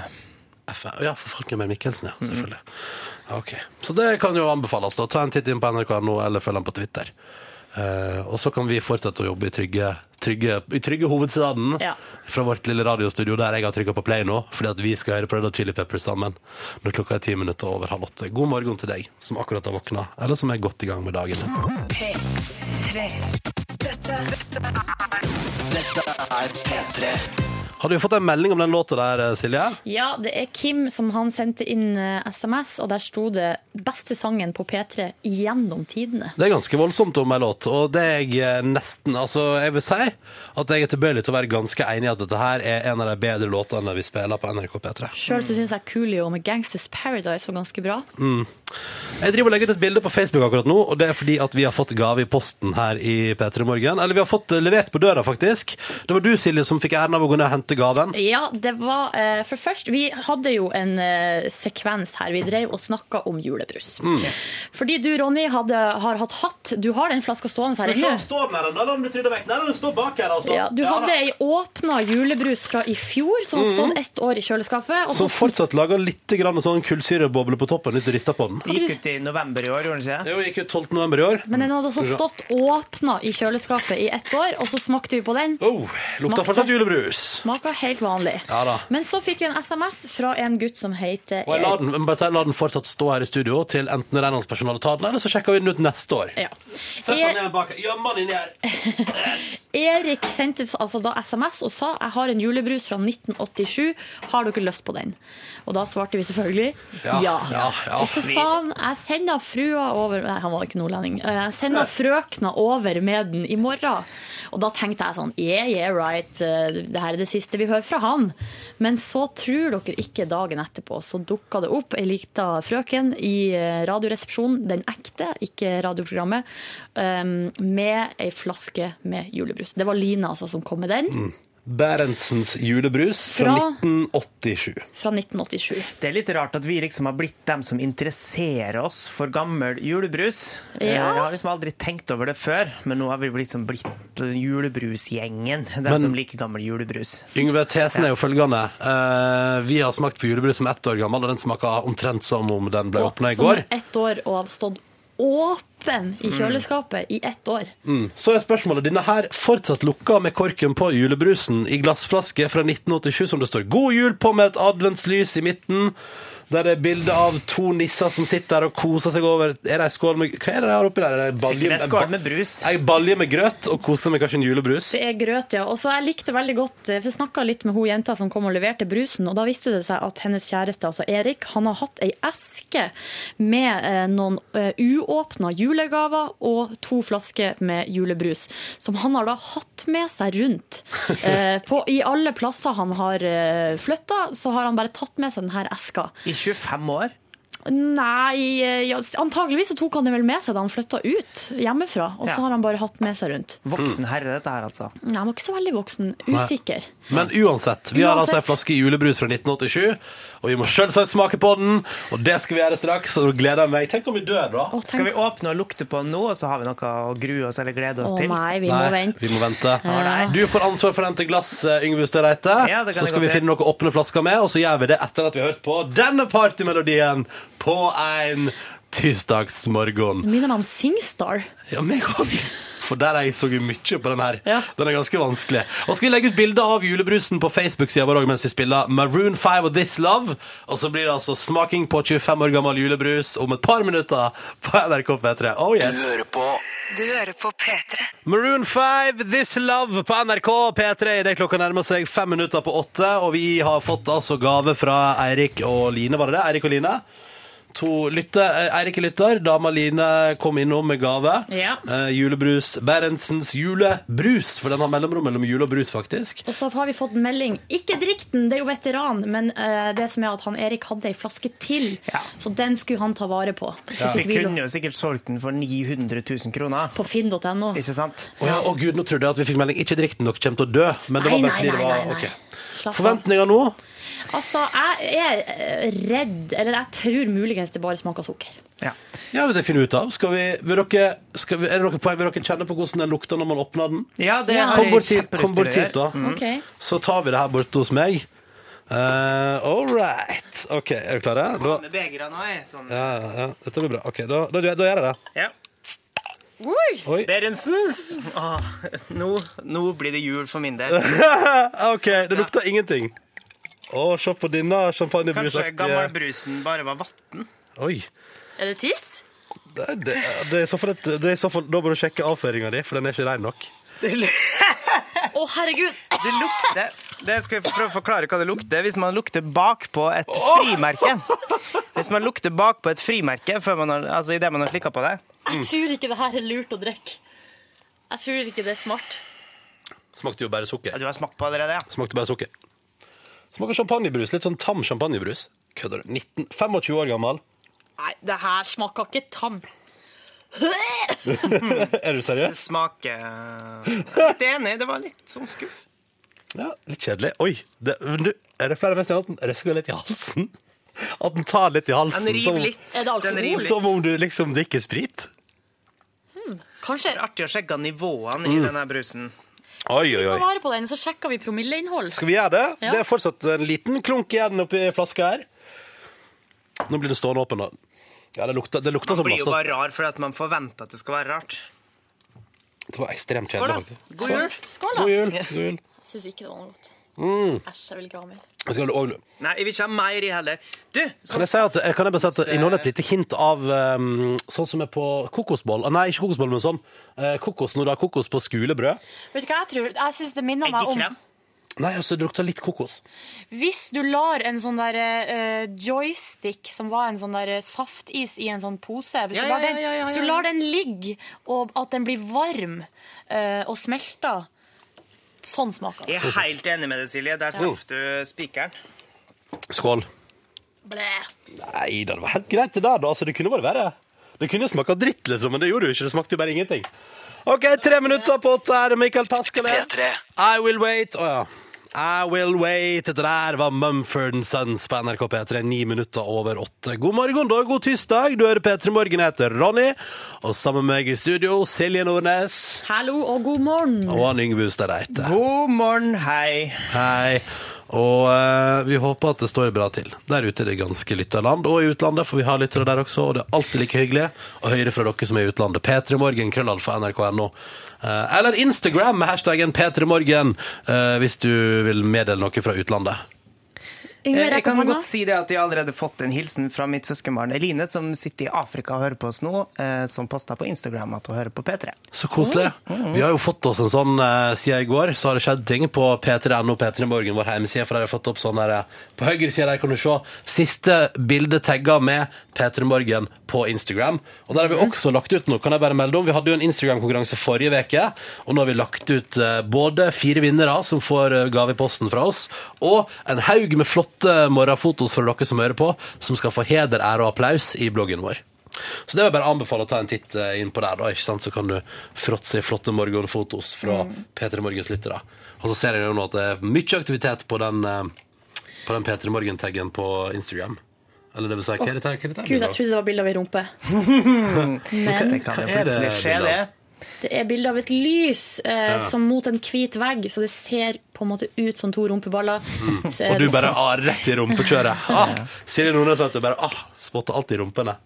S2: F ja, for Falkenberg Mikkelsen, ja, selvfølgelig. Ja, Ok, Så det kan jo anbefales. da. Ta en titt inn på nrk.no, eller følg han på Twitter. Eh, og så kan vi fortsette å jobbe i trygge, trygge, i trygge hovedstaden
S5: Ja.
S2: fra vårt lille radiostudio der jeg har trykka på play nå, fordi at vi skal høre på Red Hot Chili Peppers sammen når klokka er ti minutter over halv åtte. God morgen til deg som akkurat har våkna, eller som er godt i gang med dagen.
S6: P3. Dette, dette er
S2: Hadde vi fått en melding om den låta der, eh, Silje?
S5: Ja, det er Kim som han sendte inn eh, SMS, og der sto det 'Beste sangen på P3 gjennom tidene'.
S2: Det er ganske voldsomt om ei låt, og det er jeg eh, nesten Altså, jeg vil si at jeg er tilbøyelig til å være ganske enig i at dette her er en av de bedre låtene vi spiller på NRK P3.
S5: Sjøl syns jeg Coolio med 'Gangsters Paradise' var ganske bra.
S2: Jeg driver og legger ut et bilde på Facebook akkurat nå, og det er fordi at vi har fått gave i posten her i P3 Morgen. Eller vi har fått det levert på døra, faktisk. Det var du, Silje, som fikk æren av å gå ned og hente gaven.
S5: Ja, det var eh, For først, vi hadde jo en eh, sekvens her. Vi drev og snakka om julebrus. Fordi du, Ronny, hadde, har hatt hatt. Du har den flaska stående her inne.
S2: står sånn med den, den blir vekk. Nei, den står bak her, altså.
S5: Ja, Mm. du hadde ei åpna julebrus fra i fjor som har stått ett år i kjøleskapet. Og
S2: Som
S5: så
S2: fortsatt lager litt grann sånn kullsyreboble på toppen hvis du rister på den.
S3: Det gikk ut i november i år, gjorde den ikke det?
S2: Det gikk ut 12. november i år.
S5: men den hadde også stått åpna i kjøleskapet i ett år, og så smakte vi på den.
S2: Oh, lukta
S5: Smakte.
S2: fortsatt julebrus.
S5: Smaka helt vanlig.
S2: Ja da.
S5: Men så fikk vi en SMS fra en gutt som heter
S2: Og jeg lar den, jeg må bare si, jeg lar den fortsatt stå her i studio til enten renholdspersonalet tar den, eller så sjekker vi den ut neste år.
S5: E- Ja.
S2: Sett
S5: Er-
S2: den ned bak her. Gjem den inni her.
S5: Erik sendte altså da SMS og sa jeg har en julebrus fra 1987, har dere lyst på den? Og da svarte vi selvfølgelig
S2: Ja,
S5: ja.
S2: ja, ja.
S5: Og så sa han jeg sender frua over Nei, han var ikke nordlending. Eh, Jeg sender frøkna over med den i morgen. Og da tenkte jeg sånn yeah, yeah, right, eh, det her er det siste vi hører fra han. Men så tror dere ikke dagen etterpå, så dukka det opp ei lita frøken i eh, Radioresepsjonen, den ekte, ikke radioprogrammet, um, med ei flaske med julebrus. Det var Line altså som kom med den,
S2: Mm. Berentsens julebrus fra,
S5: Fra-
S2: 1987.
S5: fra 1987.
S3: Det er litt rart at vi liksom har blitt dem som interesserer oss for gammel julebrus. Eh,
S5: Ja.
S3: Jeg har liksom aldri tenkt over det før, men nå har vi liksom blitt julebrusgjengen. Dem
S2: Men-
S3: som liker gammel julebrus.
S2: Yngve, tesen er jo følgende. Eh, vi har smakt på julebrus som ett år gammel, og den smaker omtrent som om den ble åpna i
S5: som
S2: går. Mm.
S5: er ett år og har stått åpen i kjøleskapet i ett år.
S2: Så er spørsmålet denne her fortsatt lukka med korken på julebrusen i glassflaske fra 1987, som det står 'God jul' på med et adventslys i midten. Der det er bilde av to nisser som sitter der og koser seg over Er det ei skål med Hva er det der oppe der? Er det en balje,
S3: Sikkert en
S2: en
S3: skål
S2: ba-
S3: med brus.
S2: ei balje med grøt og koser med kanskje en julebrus?
S5: Det er grøt, ja. Og så jeg likte veldig godt eh, For jeg snakka litt med hun jenta som kom og leverte brusen, og da viste det seg at hennes kjæreste, altså Erik, han har hatt ei eske med eh, noen eh, uåpna julegaver og to flasker med julebrus, som han har da hatt med seg
S2: (laughs)
S5: rundt. Eh, på, I alle plasser han har eh, flytta, så har han bare tatt med seg denne eska.
S3: I 25 år.
S5: Nei, eh, ja, antageligvis så tok han det vel med seg da han flytta ut hjemmefra, og
S3: Ja.
S5: så har han bare hatt med seg rundt.
S2: Mm.
S3: Voksen herre, dette her, altså.
S5: Nei, han var ikke så veldig voksen. Usikker.
S2: Men uansett, vi har
S5: Uansett.
S2: altså ei flaske julebrus fra 1987, og vi må selvsagt smake på den. Og det skal vi gjøre straks, og nå gleder jeg meg. Tenk om vi dør, da?
S5: Å, tenk-
S3: Skal vi åpne og lukte på den nå, og så har vi noe å grue oss eller glede oss
S5: Å
S3: til?
S5: nei, vi må vente.
S2: Vi må vente.
S5: Ja.
S2: Du får ansvar for å hente glass, eh, Yngve Hustad Reite.
S3: Ja, det kan
S2: så
S3: jeg
S2: skal
S3: godt
S2: vi finne noen åpne flasker med, og så gjør vi det etter at vi har hørt på denne partymelodien på en tirsdagsmorgen.
S5: Det minner meg om Singstar.
S2: Ja, meg òg. For der er jeg så mye på den her.
S5: Ja.
S2: Den er ganske vanskelig. Og så skal vi legge ut bilde av julebrusen på Facebook-sida vår også mens vi spiller Maroon 5 og This Love. Og så blir det altså smaking på 25 år gammel julebrus om et par minutter på NRK P3. Oh yes.
S1: Du hører på P3.
S2: Maroon 5, This Love på NRK P3. Det er klokka nærmer seg fem minutter på åtte, og vi har fått altså gave fra Eirik og Line, var det det? Eirik og Line? To lytter, eh, Eirik er lytter, dama Line kom innom med gave.
S5: Ja.
S2: Eh, julebrus. Berentsens julebrus, for den har mellomrom mellom jul og brus, faktisk.
S5: Og så har vi fått melding. Ikke drikk den, det er jo veteran, men eh, det som er at han Erik hadde ei flaske til,
S3: Ja.
S5: så den skulle han ta vare på. Så
S3: Vi
S5: fikk vi
S3: kunne jo sikkert solgt den for 900 000 kroner,
S5: på finn.no.
S3: ikke sant?
S2: Å ja, å gud, nå trodde jeg at vi fikk melding. Ikke drikk den, dere kommer til å dø. Men det var bare
S5: Nei, nei,
S2: fordi det
S5: nei,
S2: var
S5: nei, nei.
S2: ok.
S5: Slapp av.
S2: Forventninger nå?
S5: Altså, jeg er eh, redd, eller jeg tror muligens det bare smaker sukker.
S3: Ja.
S2: Ja, det finner vi ut av. Skal vi, vil dere, skal vi, er det noen poeng? Vil dere kjenne på hvordan den lukter når man åpner den?
S3: ja, det
S5: Ja.
S3: har
S2: Kom
S3: jeg
S2: bort hit,
S3: kjempelyst
S2: kom bort
S3: til å
S2: hit
S3: gjøre.
S2: da.
S5: Ok.
S2: Så tar vi det her borte hos meg. Uh, all right. OK, er du klare? Da,
S3: Med begeret nå, jeg. Sånn.
S2: ja, ja, ja, dette blir bra. OK, da, da, da gjør jeg det. (laughs)
S3: Ja.
S2: Oi.
S3: Berentsens! Åh, nå, nå blir det jul for min del.
S2: OK, det lukter ingenting. Å, se på denne
S3: Kanskje
S2: champagnebrusaktige
S3: gammelbrusen bare var vann?
S2: Oi.
S5: Er det tiss?
S2: Det, det, det er i så fall et, det er i så fall, da må du sjekke avføringa di, for den er ikke rein nok.
S5: Å, herregud!
S3: Det lukter Det skal jeg prøve å forklare hva det lukter. Hvis man lukter bak på et frimerke Hvis man lukter bak på et frimerke før man har, altså idet man har slikka på det
S5: Jeg tror ikke det her er lurt å drikke. Jeg tror ikke det er smart.
S2: Smakte jo bare
S3: Ja,
S2: sukker.
S3: Du har smakt på allerede, ja?
S2: Smakte bare sukker. Smaker champagnebrus. Litt sånn tam champagnebrus. Kødder du? 19 25 år gammel. (laughs)
S5: Nei, det her smaker ikke tam.
S2: Er du seriøs?
S3: Smaker Litt enig. Det var litt sånn skuff.
S2: Ja, litt kjedelig. Oi, det, men du, er det flere mennesker at den røsker litt i halsen? At den tar litt i halsen?
S3: Den river litt.
S5: Er det
S3: Den
S5: alkohol?
S3: river litt.
S2: Som om du liksom drikker sprit?
S5: Kanskje.
S3: Artig å sjekke nivåene i denne brusen.
S2: Oi, oi, oi.
S5: Ta vare på den, så sjekker vi promilleinnhold.
S2: Skal vi gjøre det?
S5: Ja.
S2: Det er fortsatt en liten klunk igjen oppi flaska her. Nå blir den stående åpen, da. Ja, det lukta, det lukta
S3: Man
S2: som
S3: blir jo
S2: masse.
S3: bare rar fordi at man forventer at det skal være rart.
S2: Det var ekstremt
S3: Skål,
S2: kjedelig,
S3: da.
S2: faktisk.
S5: God jul. Skål, da.
S2: God jul. God jul.
S5: Jeg syns ikke det var noe godt. Æsj, jeg vil ikke ha mer.
S2: Jeg Skal, og,
S3: Nei, jeg vil ikke ha mer i heller. Du, så
S2: kan jeg si at, kan jeg bare si at det
S3: eh,
S2: inneholder et lite hint av um, sånn som er på kokosboll? Ah, nei, ikke kokosboll, men sånn. Eh, kokos når du har kokos på skulebrød.
S5: Vet du hva jeg tror? Jeg syns det minner meg om
S3: eggekrem.
S2: Nei, altså, det lukta litt kokos.
S5: Hvis du lar en sånn der eh, joystick, som var en sånn der eh, saftis i en sånn pose Hvis,
S3: Ja,
S5: du, lar
S3: ja,
S5: den,
S3: ja, ja, ja,
S5: hvis
S3: ja.
S5: du lar den ligge, og at den blir varm eh, og smelter Sånn smaker det.
S3: Jeg er helt enig med deg, Silje. Der traff du spikeren.
S2: Skål.
S5: Blæ.
S2: Nei, det var helt greit det der, da. Altså, det kunne bare være. Det kunne smaka dritt, liksom, men det gjorde jo ikke. Det smakte jo bare ingenting. OK, tre minutter på åtte her, Michael Pascal.
S6: P3.
S2: I Will Wait. Å ja. I Will Wait. Det der var Mumford Sons på NRK P3, ni minutter over åtte. God morgen da, god tirsdag. Du hører P3 Morgen, jeg heter Ronny. Og sammen med meg i studio, Silje Nordnes
S5: Hallo og god morgen.
S2: og han Yngve Hustad Reite.
S3: God morgen, hei.
S2: Hei. Og eh, vi håper at det står bra til der ute i det ganske lytterland, og i utlandet, for vi har lyttere der også, og det er alltid like hyggelig å høre fra dere som er i utlandet. P3morgen, krøllalfa, nrk.no. Eh, eller Instagram med hashtaggen P3morgen, eh, hvis du vil meddele noe fra utlandet.
S5: Yngve,
S3: Eh, Jeg
S5: rekk
S3: kan
S5: opp hånda.
S3: godt si det at jeg allerede har fått en hilsen fra mitt søskenbarn Eline, som sitter i Afrika og hører på oss nå, eh, som posta på Instagram at hun hører på P3.
S2: Så koselig. Vi har jo fått oss en sånn eh, siden i går, så har det skjedd ting på p3.no, p3morgen, vår hjemmeside, for der har jeg fått opp sånn der eh, På høyre side der kan du se siste bilde tagga med p3morgen på Instagram. Og der har vi også lagt ut noe, kan jeg bare melde om. Vi hadde jo en Instagram-konkurranse forrige veke, og nå har vi lagt ut eh, både fire vinnere som får eh, gave i posten fra oss, og en haug med flotte morgenfotos fra dere som hører på, som skal få heder, ære og applaus i bloggen vår. Så det vil jeg bare anbefale å ta en titt eh, inn på der, da, ikke sant? så kan du fråtse i flotte morgenfotos fra
S5: Mm.
S2: P3 Morgens lyttere. Og så ser jeg jo nå at det er mye aktivitet på den, eh, på den P3 Morgen-taggen på Instagram. Eller det vil si, hva er det her? Hva er det her?
S5: Gud, jeg trodde det var bilde av ei rumpe. Men
S3: Det kan
S2: er
S3: jo
S2: det,
S3: plutselig skje,
S2: Linda?
S3: det.
S5: det er bilde av et lys eh, som mot en hvit vegg, så det ser på en måte ut som to rumpeballer. Så
S2: Og
S5: det
S2: du bare
S5: ser-
S2: ah, rett i rumpekjøret.
S5: (laughs)
S2: Ah, Silje Nordnes vet du bare ah, spotter alltid rumpene.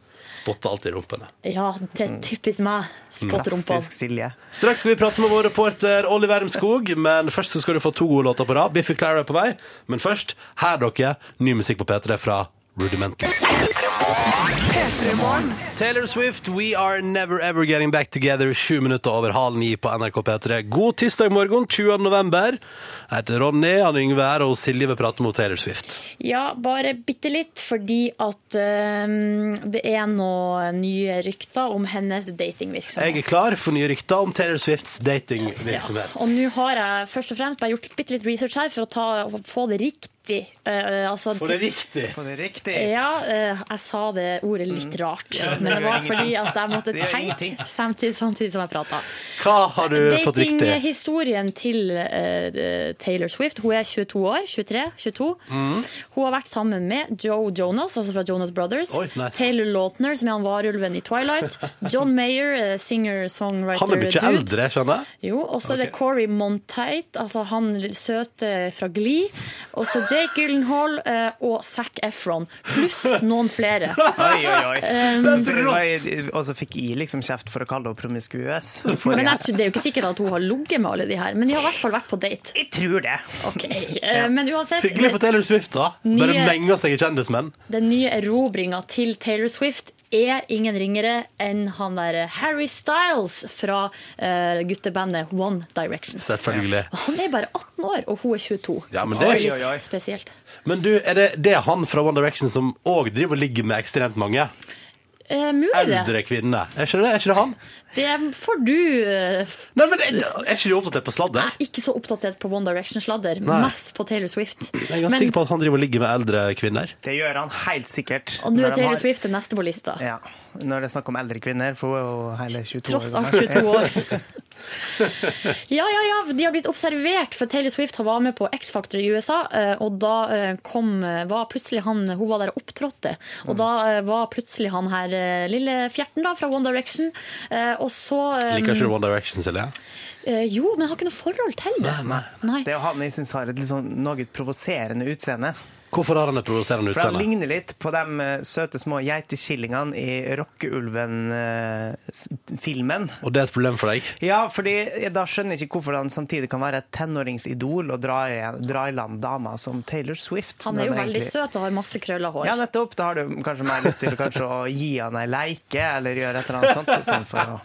S2: Spotter alltid rumpene.
S5: Ja, det er typisk meg. Spott rumpa.
S3: Klassisk Silje.
S2: Straks skal vi prate med vår reporter Olli Wermskog, men først så skal du få to gode låter på rad. Biffy Clara er på vei, men først, her dere, ny musikk på P3 fra Rudimental. Taylor Swift, We Are Never Ever Getting Back Together, sju minutter over halv ni på NRK P3. God tirsdag morgen, 20. november. Jeg heter Ronny, han Yngve her, og Silje vil prate mot Taylor Swift.
S5: Ja, bare bitte litt, fordi at øhm, det er noen nye rykter om hennes datingvirksomhet.
S2: Jeg er klar for nye rykter om Taylor Swifts
S5: Ja.
S2: datingvirksomhet.
S5: Og nå har jeg først og fremst bare gjort bitte litt research her for å ta, å få det riktig. Eh, altså,
S2: For det er riktig.
S3: Får det riktig?
S5: Ja, eh, jeg sa det ordet litt
S2: Mm.
S5: rart. Men det var fordi at jeg måtte
S3: Det gjør
S5: tenke
S3: ingenting.
S5: samtidig, samtidig som jeg prata.
S2: Hva har du fått riktig?
S5: Datinghistorien til eh, Taylor Swift. Hun er 22 år. 23, 22.
S2: Mm.
S5: Hun har vært sammen med Joe Jonas, altså fra Jonas Brothers.
S2: Oi, nice.
S5: Taylor Lautner, som er han varulven i Twilight. John Mayer, eh, singer-songwriter.
S2: Han er mye
S5: dude.
S2: eldre, skjønner jeg.
S5: Jo, og så er det Corey Monteith, altså han søte fra Glee. Og så Jake Gyllenhaal eh, og Zac Efron. Pluss noen flere.
S2: (laughs)
S3: Oi, oi, oi. Så det var jeg- Og så fikk jeg liksom kjeft for å kalle henne promiskuøs. For
S5: Men
S3: jeg,
S5: jeg tror, Det er jo ikke sikkert at hun har ligget med alle de her, men de har i hvert fall vært på date.
S3: jeg tror det.
S5: Ok, eh, Men uansett,
S2: Hyggelig for Taylor Swift, da. Bare
S5: Nye-
S2: menger seg i kjendismenn.
S5: den nye erobringa til Taylor Swift er ingen ringere enn han der Harry Styles fra eh, guttebandet One Direction.
S2: Selvfølgelig.
S5: Han er bare 18 år, og hun er 22.
S2: Ja, men
S5: Så
S2: det-
S5: er litt
S3: Oi, oi, oi.
S5: Spesielt.
S2: Men du, er det, det er han fra One Direction som òg driver og ligger med ekstremt mange
S5: Eh, mulig det.
S2: eldre kvinner? Er ikke det, er ikke det han?
S5: Det får du eh, f-
S2: Nei, men Er er ikke de oppdatert på sladder?
S5: ikke så oppdatert på One Direction-sladder.
S2: Nei.
S5: Mest på Taylor Swift.
S2: Jeg er ganske sikker på at han driver og ligger med eldre kvinner.
S3: Det gjør han helt sikkert.
S5: og nå
S3: når
S5: er
S3: de
S5: Taylor
S3: har-
S5: Swift det neste på lista.
S3: Ja, når det er snakk om eldre kvinner, for hun er jo hele 22
S5: Tross
S3: år.
S5: alt
S3: gammel.
S5: 22 år. Ja, ja, ja. De har blitt observert, for Taylor Swift har var med på X-Factor i USA. eh, Og da eh, kom, eh, var plutselig han Hun var der og opptrådte. Og da eh, var plutselig han her eh, lille fjerten da, fra One Direction. eh, Og så
S3: Um,
S5: eh,
S2: Liker ikke du One Direction, Silje?
S5: eh, Jo, men jeg har ikke noe forhold til det.
S2: Nei,
S5: Nei.
S3: Det er jo han jeg syns har et litt sånn noe provoserende utseende.
S2: Hvorfor har han et provoserende
S3: For han
S2: utseende?
S3: ligner litt på de eh, søte små geitekillingene i Rockeulven-filmen.
S2: Og det er et problem for deg?
S3: Ja, fordi da skjønner jeg ikke hvorfor han samtidig kan være et tenåringsidol og dra i, dra i land damer som Taylor Swift.
S5: Han
S3: når
S5: er jo
S3: det
S5: veldig
S3: sånn egentlig-
S5: søt og har masse krølla hår.
S3: Ja, nettopp. Da har du kanskje mer lyst til kanskje å gi han ei leike eller gjøre et eller annet sånt istedenfor å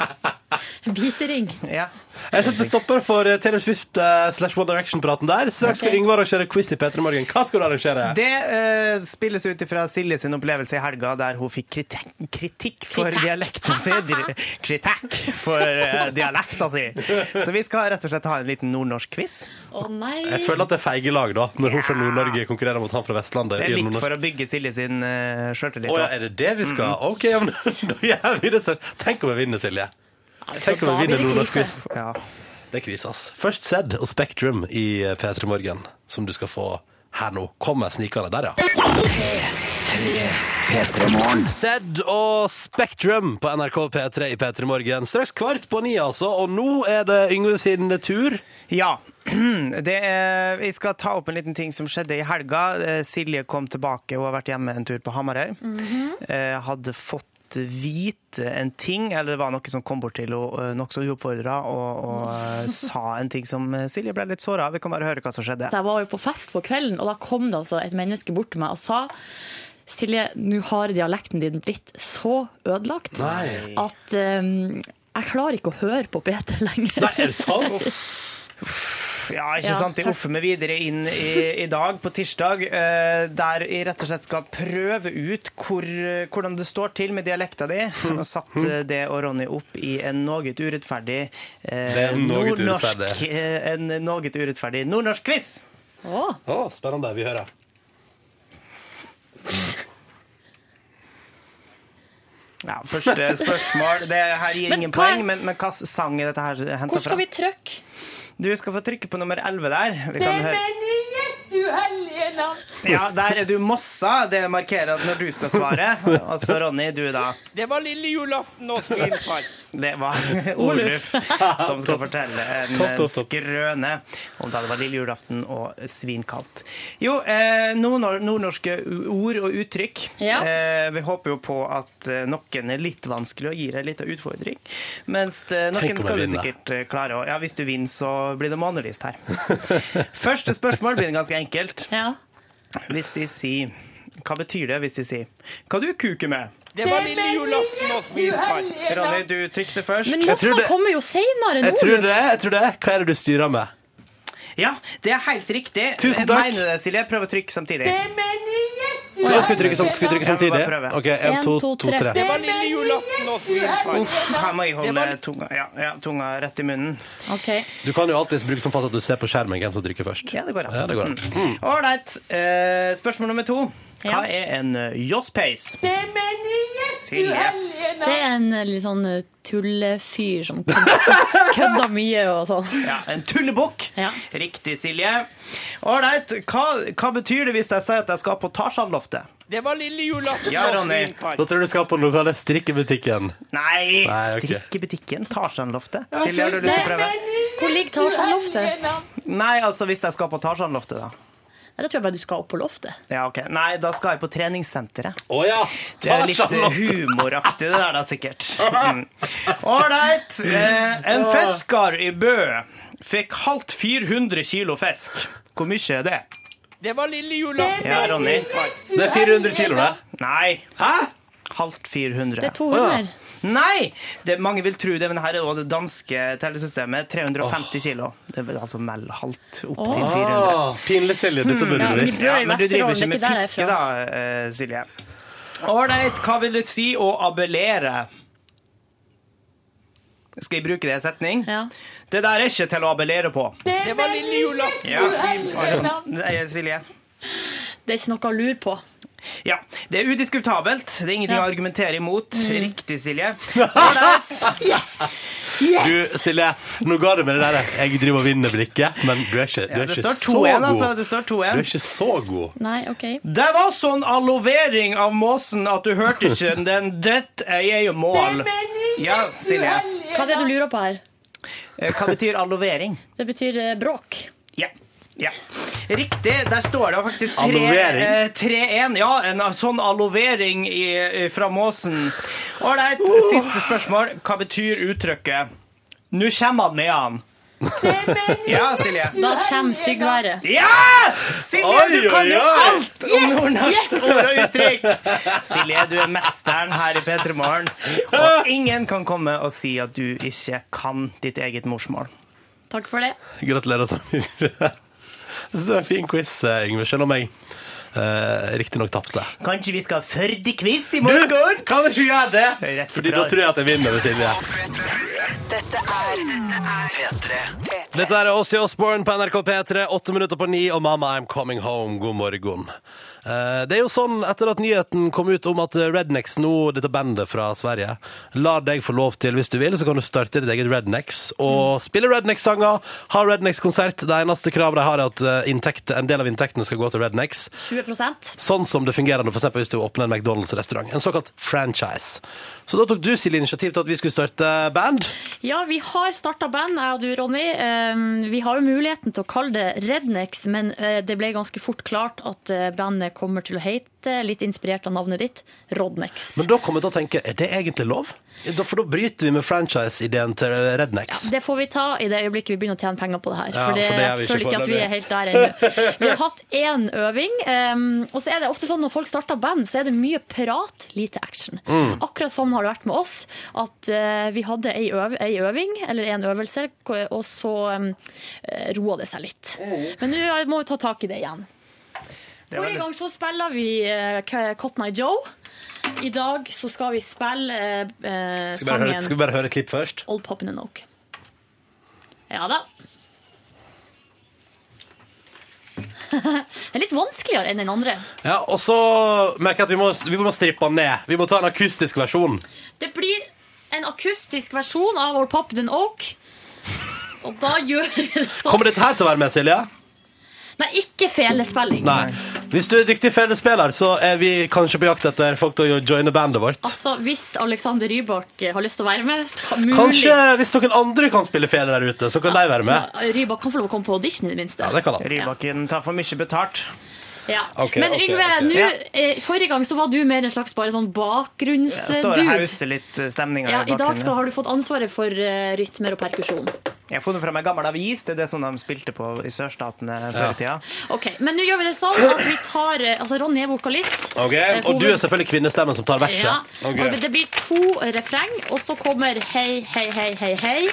S5: Bitering.
S3: Ja.
S2: Jeg setter stopper for eh, Taylor Swift eh, slash One Direction-praten der. Straks skal
S5: Ok.
S2: Yngvar arrangere quiz i P3 Morgen. Hva skal du arrangere?
S3: Det eh, spilles ut ifra Silje sin opplevelse i helga, der hun fikk kritikk, kritikk for
S5: Kritikk.
S3: dialekten sin. Dri- Kritikk for uh, dialekta si. Så vi skal rett og slett ha en liten nordnorsk quiz.
S5: Å nei.
S2: Jeg føler at det er feige lag, da, når hun fra Nord-Norge konkurrerer mot han fra Vestlandet. i
S3: Det er litt
S2: Nordnorsk-
S3: for å bygge Silje sin uh, sjøltillit.
S2: Å ja, er det det vi skal? OK, ja, men (laughs) da gjør vi det sånn. Tenk om jeg vinner, Silje. Tenk om
S5: da
S2: jeg
S5: blir
S2: vinner
S5: det
S2: Nordnorsk
S5: krise.
S2: quiz.
S3: Ja.
S2: Det er krise, ass. Først Zed og Spektrum i eh, P3 Morgen, som du skal få her nå. Kommer snikende der, ja. Zed og Spektrum på NRK P3 i P3 Morgen. Straks kvart på ni, altså. Og nå er det Yngve sin tur.
S3: ja. (clears throat) Det er, jeg skal ta opp en liten ting som skjedde i helga. Eh, Silje kom tilbake, hun har vært hjemme en tur på Hamarøy. Eh, hadde fått vite en ting, eller det var noe som kom bort til henne eh, nokså uoppfordra og, og eh, sa en ting som eh, Silje ble litt såra av. Vi kan bare høre hva som skjedde.
S5: Jeg var jo på fest på kvelden, og da kom det altså et menneske bort til meg og sa Silje, nå har dialekten din blitt så ødelagt
S2: Nei.
S5: at eh, jeg klarer ikke å høre på Peter lenger.
S2: Nei, er det sant?
S3: Ja, ikke
S5: Ja,
S3: sant? Jeg
S5: takk.
S3: offer meg videre inn i, i dag, på tirsdag, eh, der jeg rett og slett skal prøve ut hvor, eh, hvordan det står til med dialekta di. Og satt eh, det og Ronny opp i en noe urettferdig eh,
S2: Det er en noe
S3: nordnorsk
S2: urettferdig.
S3: eh, En noe urettferdig nordnorsk quiz!
S5: Å,
S2: Å, spennende. Vi hører.
S3: Ja, første spørsmål. Det her gir
S5: Men
S3: ingen
S5: hva er-
S3: poeng, men, men hva sang er dette her henta
S5: hvor
S3: fra?
S5: skal vi trykke?
S3: Du skal få trykke på nummer 11 der. Vi kan høre. Ja, der er du mossa. Det markerer at når du skal svare. Og så Ronny, du da.
S8: Det var lille julaften og innfalt.
S3: Det
S2: (laughs)
S3: var Oluf som skal fortelle en,
S2: Topp,
S3: en
S2: topp, topp.
S3: skrøne om da det var lille julaften og svinkaldt. Jo, eh, nordnor- nordnorske ord og uttrykk.
S5: Ja.
S3: Eh, vi håper jo på at eh, noen er litt vanskelig og gir deg litt av utfordring. Mens eh,
S2: Tenk
S3: noen
S2: om
S3: skal
S2: jeg
S3: du
S2: vinner.
S3: sikkert eh, klare. å- Ja, hvis du vinner, så blir det månelyst
S2: (laughs)
S3: her. Første spørsmål blir ganske enkelt.
S5: Ja.
S3: Hvis de sier Hva betyr det hvis de sier Hva du kuker med?
S8: Det var lille julaften og innfalt.
S3: Ronny, du trykte først.
S5: Men
S2: Jeg tror
S5: Mossa
S2: det-
S5: kommer jo seinere
S2: Jeg tror
S5: nå.
S2: det. jeg tror det. Hva er det du styrer med?
S3: Ja, det er helt riktig.
S2: Tusen takk.
S3: Mener du det, Silje? Prøv å trykke samtidig.
S2: Så da skal vi trykke, sam- skal vi trykke
S3: Ja, vi
S2: samtidig?
S3: bare prøver.
S2: OK, én, to, to, tre.
S8: Det var lille julaften og innfalt.
S3: Her må jeg holde
S8: Det var-
S3: tunga, ja, ja, tunga rett i munnen.
S5: Ok.
S2: Du kan jo alltid bruke som fast at du ser på skjermen hvem som trykker først.
S3: Ja, det går an.
S2: Ja, det går an. Mm.
S3: Ålreit. Eh, spørsmål nummer to. Hva
S5: Ja.
S3: er en eh, josspeis? Silje.
S5: Det er en eh, litt sånn eh, tullefyr som kødder (laughs) som kødder mye og sånn.
S3: Ja, en tullebukk.
S5: Ja.
S3: Riktig, Silje. Ålreit. Hva, hva betyr det hvis jeg sier at jeg skal på Tarzan-loftet?
S8: Det var lille julaften
S3: Ja,
S8: og
S3: Ronny.
S8: innfalt.
S2: Da tror jeg du skal på den lokale strikkebutikken. Nei,
S3: Nei,
S2: ok.
S3: strikkebutikken. Tarzan-loftet. Silje, har du lyst til å prøve?
S5: Hvor ligger Tarzan-loftet?
S3: Nei, altså hvis jeg skal på Tarzan-loftet, da.
S5: Nei, Da tror jeg bare du skal opp på loftet.
S3: Ja, ok. Nei, da skal jeg på treningssenteret.
S2: Å ja! Ah,
S3: Det er litt eh,
S2: Tarzan-lott.
S3: humoraktig, det der, da, sikkert. Ålreit. Eh, en fisker i Bø fikk halvt 400 kilo fisk. Hvor mye er det?
S8: Det var lille julaften
S3: Ja, Ronny.
S8: og innfalt.
S2: Det er 400 kilo, det.
S3: Nei.
S2: Hæ?
S3: Halvt 400.
S5: Det er 200.
S3: Nei! Det, mange vil tro det, men her er også det danske tellesystemet. 350 kilo. Det er vel altså mell halvt opp til 400.
S2: Ah, pinlig Silje, dette burde
S5: Ja,
S2: du
S5: vi
S2: visst.
S5: bør i
S3: Hmm, Men du driver
S5: Vesterålen,
S3: ikke
S5: ikke
S3: med
S5: der jeg er
S3: fiske, da,
S5: fra.
S3: eh, Silje. Ålreit, hva vil det si å abellere? Skal jeg bruke det i en setning?
S5: Ja.
S3: Det der er ikke til å abellere på.
S8: Det var lille julaften.
S3: Nei, Silje.
S5: Det er ikke noe å lure på.
S3: Ja, Det er udiskutabelt. Det er ingenting
S5: Ja. Mm.
S3: å argumentere imot. Riktig, Silje.
S5: (laughs)
S2: Du, Silje, nå ga du med det der 'jeg driver og vinner' blikket, men du er ikke, du er
S3: Det
S2: ikke
S3: står
S2: så
S3: 2-1, altså.
S2: god.
S3: Det står
S2: Du
S3: 2-1.
S2: er ikke så god.
S5: Nei, OK.
S3: Det var sånn allovering av måsen at du hørte ikke den. Dette er jo mål. Ja, Silje.
S5: Hva er det du lurer på her?
S3: Eh, Hva betyr allovering?
S5: Det betyr eh, bråk.
S3: Ja. Ja. Riktig. Der står det faktisk tre-
S2: Allovering.
S3: eh, 3-1. ja, en sånn allovering i, i- fra måsen. Ålreit,
S2: Uh.
S3: siste spørsmål. Hva betyr uttrykket 'nå kommer han med han'? Ja, Silje.
S5: Da kommer styggværet.
S3: Ja! Silje,
S2: Oi,
S3: du kan
S2: oi,
S3: jo
S2: oi.
S3: alt om nordnorsk ord og uttrykk! Silje, du er mesteren her i P3 Morgen. Og ingen kan komme og si at du ikke kan ditt eget morsmål.
S5: Takk for det.
S2: Gratulerer, Samir. (laughs) Jeg synes det var en fin quiz, eh, Yngve, selv om jeg eh, riktignok tapte.
S3: Kanskje vi skal ha Førde-quiz i morgen?
S2: Kan vi ikke gjøre det?
S3: Rett
S2: Fordi
S3: fra-
S2: da tror jeg at jeg vinner med Silje.
S6: Dette er P3. P3.
S2: Dette er Åssi Osborne på NRK P3, åtte minutter på ni, og mamma, I'm coming home. God morgen. Eh, Det er jo sånn, etter at nyheten kom ut om at Rednex nå, dette bandet fra Sverige, lar deg få lov til, hvis du vil, så kan du starte ditt eget Rednex, og spille Rednex-sanger, ha Rednex-konsert. Det eneste kravet de har er at eh, inntekte- en del av inntektene skal gå til Rednex.
S5: 20
S2: Sånn som det fungerer når for eksempel hvis du åpner en McDonald's-restaurant. En såkalt franchise. Så da tok du, Silje, initiativ til at vi skulle starte band.
S5: Ja, vi har starta band, jeg og du, Ronny. Eh, Vi har jo muligheten til å kalle det Rednex, men eh, det ble ganske fort klart at eh, bandet kommer til å hete, litt inspirert av navnet ditt, Rodnex.
S2: Men da kom jeg til å tenke, er det egentlig lov? Da- For da bryter vi med franchise-ideen til Rednex.
S5: Det får vi ta i det øyeblikket vi begynner å tjene penger på det her.
S2: Ja,
S5: for det,
S2: for det er vi
S5: jeg
S2: ikke
S5: føler ikke at vi
S2: foreløpig.
S5: er helt der ennå. Vi har hatt én øving. ehm, og så er det ofte sånn når folk starter band, så er det mye prat, lite action.
S2: Mm.
S5: Akkurat sånn har det vært med oss. At eh, vi hadde ei, øv ei øving, eller en øvelse, ko- og så um, roa det seg litt.
S2: Mm.
S5: Men nå må vi ta tak i det igjen. Forrige gang så spilla vi eh, K- Cotton Eye Joe. I dag så skal vi spille eh,
S2: Skal vi,
S5: eh,
S2: bare høre, skal
S5: sangen
S2: vi bare høre et klipp først?
S5: Old Poppin' and Oak. Ja da. (laughs) Det er litt vanskeligere enn den andre.
S2: Ja, og så merker jeg at vi må, vi må strippe den ned. Vi må ta en akustisk versjon.
S5: Det blir en akustisk versjon av Old Poppin' and Oak. Og da gjør vi det sånn.
S2: Kommer dette her til å være med, Silje?
S5: Nei, ikke felespilling.
S2: Nei. Hvis du er dyktig fellesspiller, så er vi kanskje på jakt etter folk til å joine bandet vårt.
S5: Altså, Hvis Alexander Rybak eh, har lyst til å være med, så kan mulig
S2: Kanskje hvis noen andre kan spille fele der ute, så kan de være med.
S5: Ja, Rybak kan få lov å komme på audition, i det minste.
S2: Ja, det kan han.
S3: Rybakken tar for mye betalt.
S5: Ja.
S2: Ok,
S5: Men
S2: ok,
S5: Yngve,
S2: ok.
S5: nå,
S3: Ja.
S5: eh, forrige gang så var du mer en slags bare sånn
S3: Jeg står og
S5: bakgrunnsdude.
S3: hauser litt eh, stemninga
S2: Eh,
S5: Ja, I dag skal, har du fått ansvaret for eh, rytmer og perkusjon.
S3: Jeg har funnet fram ei gammel avis. Det er det som de spilte på i sørstatene før i tida.
S5: Ok, Men nå gjør vi det sånn at vi tar eh, Altså, Ronny er vokalist.
S2: Ok, Og du er selvfølgelig kvinnestemmen som tar verset.
S5: Ja.
S2: Ok.
S5: Og det blir to refreng, og så kommer hei, hei, hei, hei, hei.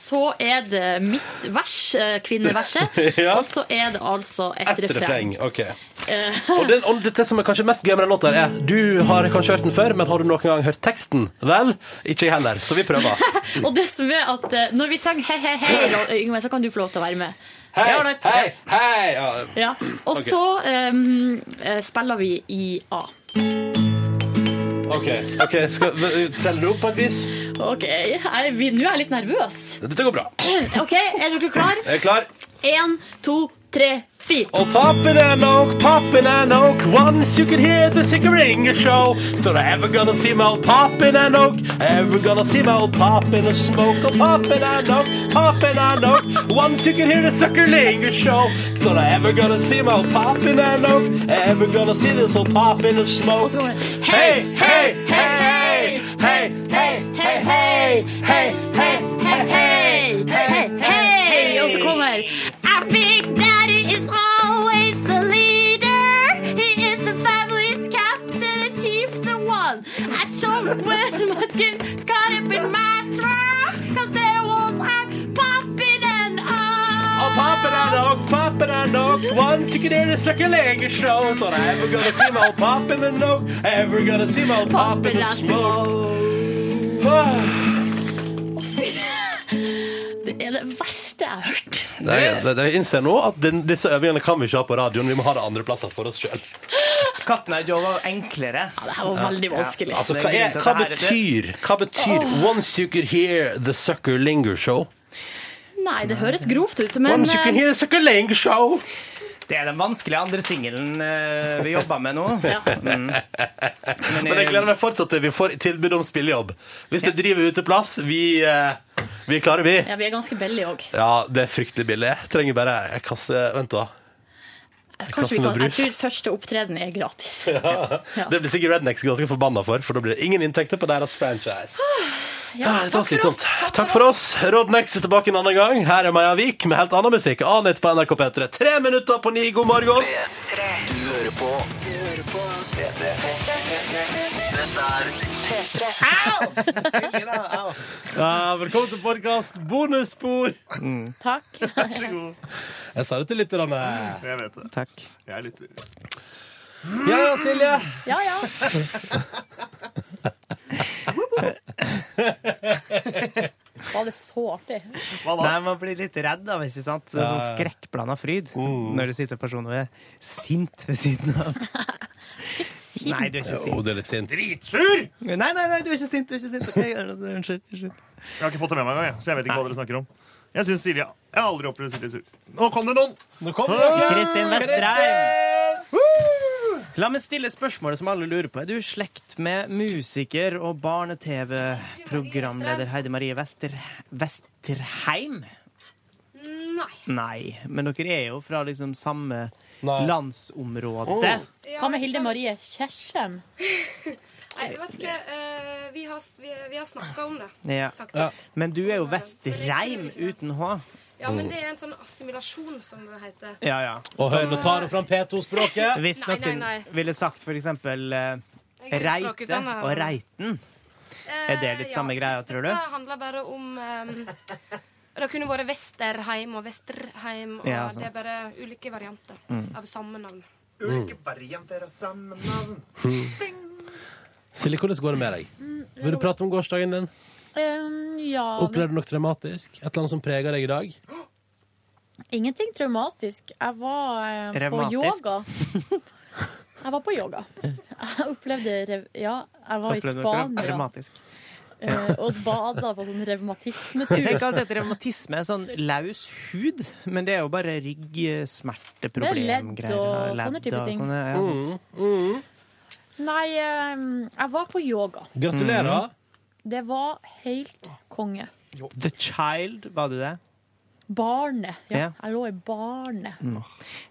S5: Så er det mitt vers, eh, kvinneverset,
S2: (laughs) Ja.
S5: og så er det altså et,
S2: Et refreng.
S5: refreng. Eh.
S2: Ok. Og, det, og dette som er kanskje mest gøy med den låta, her er du har kanskje hørt den før, men har du noen gang hørt teksten? Vel, ikke jeg heller, så vi prøver.
S5: Og (laughs) det som er at eh, når vi sang hei, hei, hei, Ron- Yngve, så kan du få lov til å være med.
S2: Hei,
S5: Ja, det er-
S2: hei! Ja.
S5: Ja. Og
S2: Ok.
S5: så eh, eh, spiller vi i A.
S2: OK, ok, skal vi- teller du opp på et vis?
S5: OK, jeg, vi, nå er jeg litt nervøs.
S2: Dette går bra.
S5: OK, er dere klar?
S2: Jeg er klar.
S5: Én, to, tre, fire.
S2: Og poppin' and oak, poppin' and oak, once you could hear the Sigaringer show. Don't I ever gonna see my old poppin' and oak, ever gonna see my old poppin' and smoke. Oh, poppin' and oak, poppin' and oak, once you could hear the Suckerlinger show. Don't I ever gonna see my old poppin' and oak, ever gonna see this old poppin' and smoke.
S5: Og så kommer det,
S2: Hey, hey, hey, hey, hey, hey, hey, hey, hey, hey, hey, hey, hey.
S5: Og så kommer Our big daddy is always the leader. He is the family's captain and chief, the one.
S2: Poppin' a dog, poppin' a dog. Once you can hear the circulating show. Thought I ever gonna see my old poppin' a dog. Ever gonna see my old poppin' a smoke. (sighs) Ah.
S6: Det er det verste jeg har hørt.
S2: Det er- det- Jeg innser nå at den, disse øvingene kan vi ikke ha på radioen. Vi må ha det andre plasser for oss sjøl.
S3: Katten er Joe var enklere.
S6: Ja, det her var veldig vanskelig.
S2: Altså,
S3: Det er
S2: hva,
S3: grunnen
S2: er,
S3: til at
S2: hva
S3: det her er
S2: betyr, hva betyr Once you could hear the sucker linger show?
S6: Nei, det høres grovt ut, men eh,
S2: Once you could hear the sucker linger show!
S3: Det er den vanskelige andre singelen eh, vi jobber med nå.
S5: (laughs)
S6: Ja.
S3: Mm.
S2: Men jeg gleder meg fortsatt til vi får tilbud om spillejobb. Hvis du driver uteplass, vi, eh, vi klarer vi.
S6: ja, vi er ganske billige òg.
S2: Ja, det er fryktelig billig. Jeg trenger bare en kasse Vent, da.
S6: Kanskje vi
S2: med
S6: kan Jeg
S2: brus.
S6: tror første opptreden er gratis.
S2: Det blir sikkert Rednecks ganske forbanna for, for da blir det ingen inntekter på deres franchise. Ah, Ja, det var slitsomt. Takk for oss. Rodnex er tilbake en annen gang. Her er Maja Vik med helt annen musikk. Anett på NRK P3. Tre minutter på ni. God
S9: P3.
S2: morgen.
S9: Du hører på. Du hører på. P3. Dette er P3.
S2: Ja, velkommen til podkast bonusspor.
S6: Takk.
S4: Vær så god.
S2: Jeg sa det til lytterne.
S4: Jeg vet det.
S3: Takk.
S4: Jeg lytter.
S2: Mm. Ja, ja, Silje.
S6: Ja, ja. Var det så artig?
S4: Hva da?
S3: Nei, Man blir litt redd av ikke sant? Det er sånn skrekkblanda fryd
S2: Uh.
S3: når det sitter en person og er sint ved siden
S5: (laughs)
S3: av. Nei, du er ikke
S2: Jo,
S3: sint.
S2: det er litt sint.
S4: Dritsur!
S3: Nei, nei, nei, du er ikke sint. du er ikke sint. Ok, Unnskyld. unnskyld.
S4: Jeg har ikke fått det med meg engang, jeg, så jeg vet ikke hva dere snakker om. Jeg synes Silje Jeg har aldri opplevd Silje sur. Nå kom det noen!
S2: Nå kommer dere.
S3: Kristin Vestreim. La meg stille spørsmålet som alle lurer på. Er du i slekt med musiker og barne-TV-programleder Heidi Marie Vester Vesterheim?
S10: Nei.
S3: Nei, men dere er jo fra liksom samme
S2: Nei.
S3: landsområde.
S10: Ja,
S6: Hva med
S10: jeg
S6: Hilde
S10: skal-
S6: Marie Kjersem?
S10: Nei, jeg vet ikke. eh, vi har, s- vi, vi har snakka om det,
S3: Ja.
S10: faktisk.
S2: Ja.
S10: Ja.
S3: Men du er jo Vestreim uten H.
S10: men det er en sånn assimilasjon, som det heter.
S3: Ja, ja.
S2: Og hør, nå tar hun fram (laughs) P2-språket.
S3: Hvis
S10: Nei, nei,
S3: noen
S10: nei.
S3: ville sagt for eksempel eh,
S10: Jeg er
S3: Reite
S10: språkutdannet.
S3: og Reiten er det litt
S10: Eh,
S3: samme greia,
S10: så
S3: tror du?
S10: Dette handler bare om eh, Det kunne vært Vesterheim og Vesterheim, og
S3: Ja,
S10: det er
S3: sant. Mm.
S10: bare ulike varianter av samme navn.
S4: Ulike varianter av samme navn.
S2: Silje, hvordan går det med deg? Vil du prate om gårsdagen din?
S6: Um, ja men
S2: Opplevde du noe traumatisk? Et eller annet som preger deg i dag?
S6: Ingenting traumatisk. Jeg var eh, på
S3: Revmatisk.
S6: yoga. (laughs) Jeg var på yoga. Jeg opplevde rev... Ja, jeg var i
S3: Opplevde dere det?
S6: Spania
S3: Dramatisk.
S6: eh, og bada på sånn
S3: (laughs)
S6: revmatismetur.
S3: Tenk at dette revmatisme er sånn løs hud, men det er jo bare ryggsmerteproblem.
S6: Det er ledd og sånne type ting.
S3: Sånne, ja,
S4: Mm.
S3: sant.
S6: Nei, eh, jeg var på yoga.
S2: Gratulerer.
S6: Det var helt konge.
S3: The Child, var du det?
S6: Barnet.
S3: Ja.
S6: Ja, jeg lå i barnet.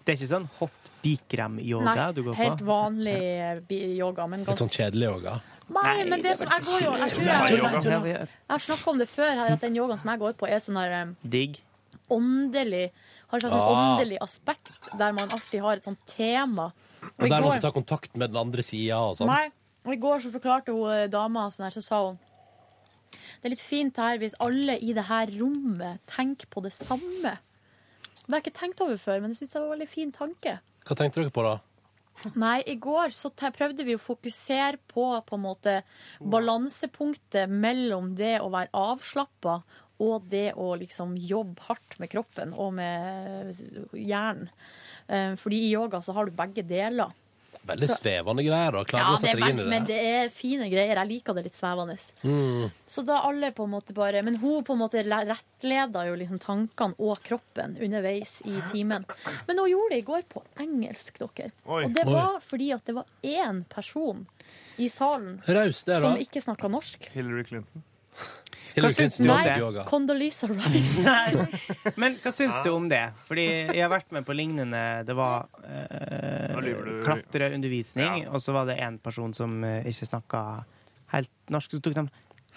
S3: Det er ikke sånn hot
S6: Nei,
S3: bikrem-yoga du går på?
S6: helt vanlig eh, bi- yoga, men
S2: Litt
S6: ganske
S2: sånn kjedelig yoga.
S6: Nei, men det som jeg går jo Jeg tror jeg,
S4: Nei, yoga.
S3: Ja, vi-
S6: jeg har snakka om det før her, at den yogaen som jeg går på, er sånn her eh,
S3: Digg.
S6: åndelig Har et slags sånn
S2: Ah.
S6: åndelig aspekt, der man alltid har et sånt tema. Og
S2: Og
S6: i
S2: der må du
S6: går,
S2: ta kontakt med den andre sida og sånn.
S6: nei, og i går så forklarte hun eh, dama sånn her, så sa hun Det er litt fint her hvis alle i det her rommet tenker på det samme. Det har jeg ikke tenkt over før, men jeg syns det var en veldig fin tanke.
S2: Hva tenkte dere på da?
S6: Nei, i går så te- prøvde vi å fokusere på på en måte balansepunktet mellom det å være avslappa og det å liksom jobbe hardt med kroppen og med hjernen. Eh, Fordi i yoga så har du begge deler.
S2: Veldig
S6: Så-
S2: svevende greier. da. Klarer du å
S6: det
S2: sette
S6: er
S2: deg inn
S6: vel-
S2: i
S6: men
S2: det?
S6: det er fine greier. Jeg liker det litt svevende.
S2: Mm.
S6: Så da alle på en måte bare Men hun på en måte le- rettleda jo liksom tankene og kroppen underveis i timen. Men hun gjorde det i går på engelsk, dere.
S4: Oi.
S6: Og det var fordi at det var én person i salen
S2: Raus der,
S6: som
S2: da.
S6: ikke snakka norsk.
S4: Hillary Clinton.
S2: Hillary
S3: Hva syns
S2: Clinton
S3: du om
S2: gjorde
S3: det?
S2: yoga.
S6: Condoleezza
S2: (laughs)
S3: (laughs)
S6: Rice.
S3: Men hva syns du om det? Fordi jeg har vært med på lignende Det var eh,
S4: Nå lyver du.
S3: klatreundervisning, og så var det én person som eh, ikke snakka helt norsk. Så tok de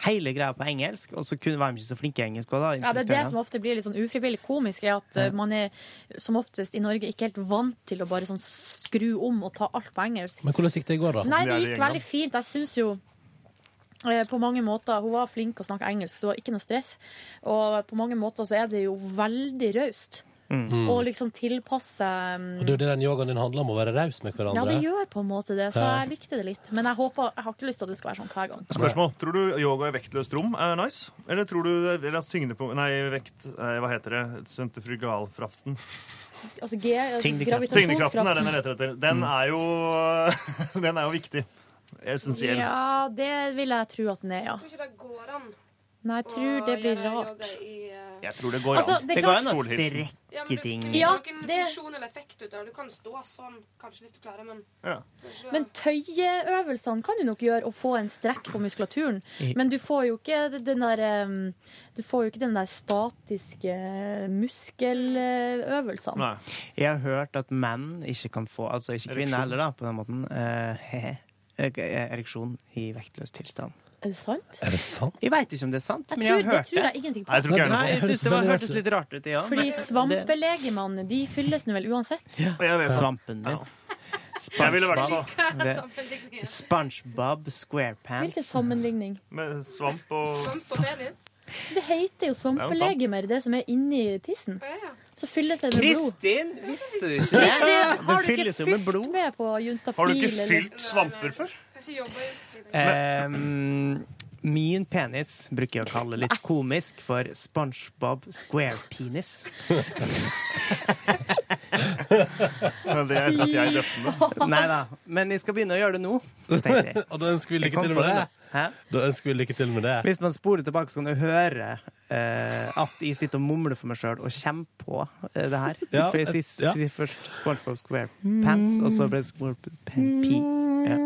S3: hele greia på engelsk, og så kunne, var de ikke så flinke i engelsk. Og da,
S6: Ja, det er det
S3: instruktørene.
S6: som ofte blir litt sånn ufrivillig komisk, er at eh, man er som oftest i Norge ikke helt vant til å bare sånn skru om og ta alt på engelsk.
S2: Men hvordan gikk det i går, da?
S4: Det er
S6: Nei, det
S4: det i
S6: gikk
S4: England.
S6: veldig fint. Jeg syns jo eh, på mange måter, Hun var flink å snakke engelsk, så det var ikke noe stress. Og på mange måter så er det jo veldig raust. Og liksom tilpasse seg um,
S2: Og det er jo det den yogaen din handler om, å være raus med
S6: Ja,
S2: hverandre.
S6: det gjør på en måte det, så
S2: Ja.
S6: jeg likte det litt. Men jeg håper, jeg har ikke lyst til at det skal være sånn hver gang.
S4: Spørsmål. Tror du yoga i vektløst rom er nice? Eller tror du eller altså tyngdepunkt Nei, vekt eh, Hva heter det? Sentrifrugalkraften.
S6: Altså, G, altså,
S3: Tyngdekraften.
S4: Tyngdekraften er den
S6: gravitasjonskraften.
S4: jeg leter etter. Den er jo (laughs) Den er jo viktig. Essensiell.
S6: Ja, det vil jeg tro at den er, ja.
S10: tror ikke det går an
S6: Nei, jeg tror det blir rart.
S4: Jeg tror det går
S6: Altså,
S4: an.
S6: det
S3: Det
S6: er
S3: går
S6: klart,
S3: an å
S4: Solhilsen.
S3: strekke
S10: eh, Ja,
S3: men du- ting.
S10: Du,
S3: du
S6: Ja,
S10: får ikke
S6: det-
S10: noen funksjon eller effekt ut av det. Du kan stå sånn, kanskje, hvis du klarer, men
S4: Ja.
S10: (laughs)
S6: men tøyeøvelsene kan du nok gjøre og få en strekk på muskulaturen. Men du får jo ikke den der um, Du får jo ikke den der statiske muskeløvelsene.
S4: Nei.
S3: Jeg har hørt at menn ikke kan få Altså ikke
S4: Ereksjon.
S3: kvinner heller, da, på den måten. eh, (laughs) hehe, eh, Ereksjon i vektløs tilstand.
S6: Er det sant?
S2: Er det sant?
S3: Jeg veit ikke om det er sant,
S6: Jeg
S3: men
S6: tror,
S3: jeg har
S6: det
S3: hørt
S6: tror
S3: det.
S6: jeg
S4: Nei,
S6: ingenting på.
S4: jeg tror ikke jeg
S3: Nei,
S4: er noe.
S3: jeg synes det, var, hørtes litt rart ut, ja.
S6: Fordi
S3: Det-
S6: svampelegemann, de fylles nå vel uansett?
S4: Og Jeg vet det.
S3: Svampen din.
S4: Jeg ville vært på
S3: Det-
S10: Sammenligningen.
S3: SpongeBob SquarePants.
S6: Hvilken sammenligning?
S4: med svamp og
S10: Sånn på penis.
S6: Det heter jo svampelegemer, det som er inni tissen.
S10: Å, ja.
S6: Så fylles det med blod.
S3: Kristin, visste du ikke
S6: Kristin,
S3: det?
S6: har du ikke
S3: fylles jo med
S6: fylt
S3: blod.
S6: med på
S4: Har du
S6: juntafil?
S4: ikke
S6: eller-
S4: fylt svamper før?
S10: Jeg har ikke jobba i utefrivillig.
S3: Ehm, min penis bruker jeg å kalle litt komisk for SpongeBob
S6: (laughs)
S3: SquarePenis.
S4: Men det er etter at jeg døpte den.
S3: Nei da, men jeg skal begynne å gjøre det nå. tenkte jeg.
S2: Og da ønsker vi
S3: Jeg
S2: lykke
S3: kom
S2: til
S3: på
S2: med det.
S3: nå. Hæ?
S2: Da ønsker vi lykke til med det.
S3: Hvis man spoler tilbake, så kan du høre eh, at jeg sitter og mumler for meg sjøl og kommer på eh, det her.
S2: Ja,
S3: for jeg sier
S2: ja.
S3: sier først SpongeBob SquarePants, og så ble det SquarePee. Ja.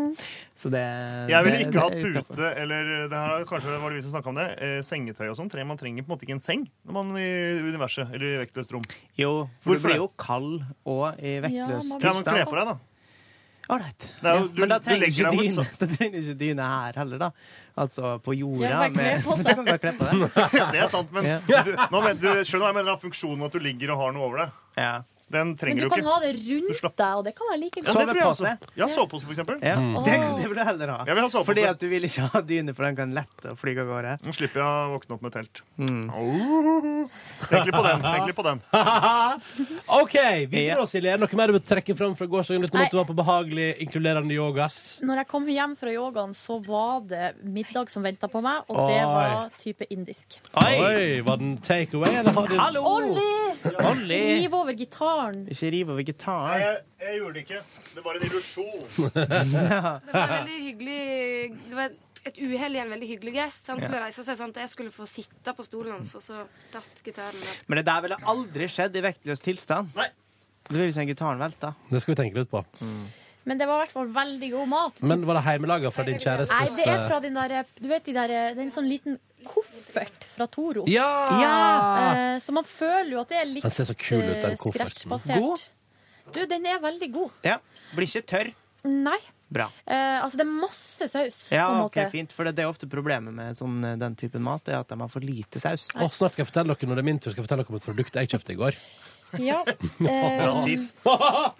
S3: Så det
S4: Jeg ville
S3: det-
S4: ikke hatt
S3: det-
S4: pute eller det her, er- Kanskje var det vi som snakket om det. Eh, sengetøy og sånn. Tre- Man trenger på en måte ikke en seng når man er i universet eller i vektløst rom.
S3: Jo, for
S4: Hvorfor
S3: du blir
S4: det?
S3: jo kald og i vektløs
S6: Ja, man
S4: Ja, men
S3: tilstand.
S4: kle på deg, da.
S3: Ålreit.
S4: Det er jo-
S3: Ja,
S4: du-
S3: Men da
S4: du
S3: trenger
S4: legger
S3: ikke
S4: deg mot
S3: dyne. (laughs) Da trenger ikke dyne her heller, da. Altså på jorda.
S6: Ja, bare kle
S3: med-
S6: på
S3: (laughs)
S6: seg.
S3: Da kan du bare kle på deg.
S4: Ja, det er sant, men
S3: Ja.
S4: du, nå men, du skjønner hva jeg mener av funksjonen at du ligger og har noe over deg.
S3: Ja.
S4: Den
S6: Men
S4: trenger
S6: du
S4: du,
S6: kan
S4: ikke.
S6: ha det rundt
S4: slapp-
S6: deg, og det kan være like
S4: Ja,
S6: godt.
S4: det tror jeg også.
S3: Sovepose.
S4: Ja, sovepose, for eksempel.
S3: Ja.
S6: Mm. Åh.
S3: Det, det vil du heller ha.
S4: Jeg vil ha sovepose.
S3: Fordi at du vil ikke ha dyne, for den kan lette og fly av gårde.
S4: Nå slipper jeg å våkne opp med telt.
S3: Mm.
S4: Oh. Tenk litt på den. tenk litt på den.
S2: (laughs) OK, videre, Silje. Er det noe mer du vil trekke fram fra gårsdagen utenom at du var på behagelig, inkluderende yogas?
S6: Når jeg kom hjem fra yogaen, så var det middag som venta på meg, og det
S2: Oi.
S6: var type indisk.
S2: Oi! Var den take away, eller har de
S3: Hallo!
S6: Olli!
S3: Olli!
S6: Riv over gitaren.
S3: Ikke riv over
S4: Nei,
S3: gitaren.
S4: jeg, jeg gjorde det ikke. Det var en illusjon.
S10: Det var en veldig hyggelig Det var et uhell i en veldig hyggelig gest. Han skulle reise seg sånn at jeg skulle få sitte på stolen hans, og så datt gitaren ned.
S3: Men det der ville aldri skjedd i vektløs tilstand.
S4: Nei.
S3: Du vil ikke ha gitaren velta.
S2: Det skal vi tenke litt på.
S6: Men det var i hvert fall veldig god mat.
S2: Men var det heimelaga fra din
S6: Nei,
S2: kjærestes
S6: det er
S2: eh,
S6: fra den der Du vet de der, det er en sånn liten koffert fra Toro.
S2: Ja!
S6: Eh, Så man føler jo at det er litt
S2: Den ser så kul ut, den
S6: eh,
S2: kofferten.
S3: God?
S6: scratchbasert. Du, den er veldig god.
S3: Ja. Blir ikke tørr.
S6: Nei.
S3: Bra.
S6: Eh, altså, det er masse saus, på en
S3: Ja, ok,
S6: måte.
S3: fint. For det det er ofte problemet med sånn, eh, den typen mat, er at de har for lite saus.
S2: Å, snart skal jeg fortelle dere når det er min tur, skal jeg fortelle dere om et produkt jeg kjøpte i går.
S6: (laughs)
S3: (laughs)
S6: Ja. Eh,
S4: Tis.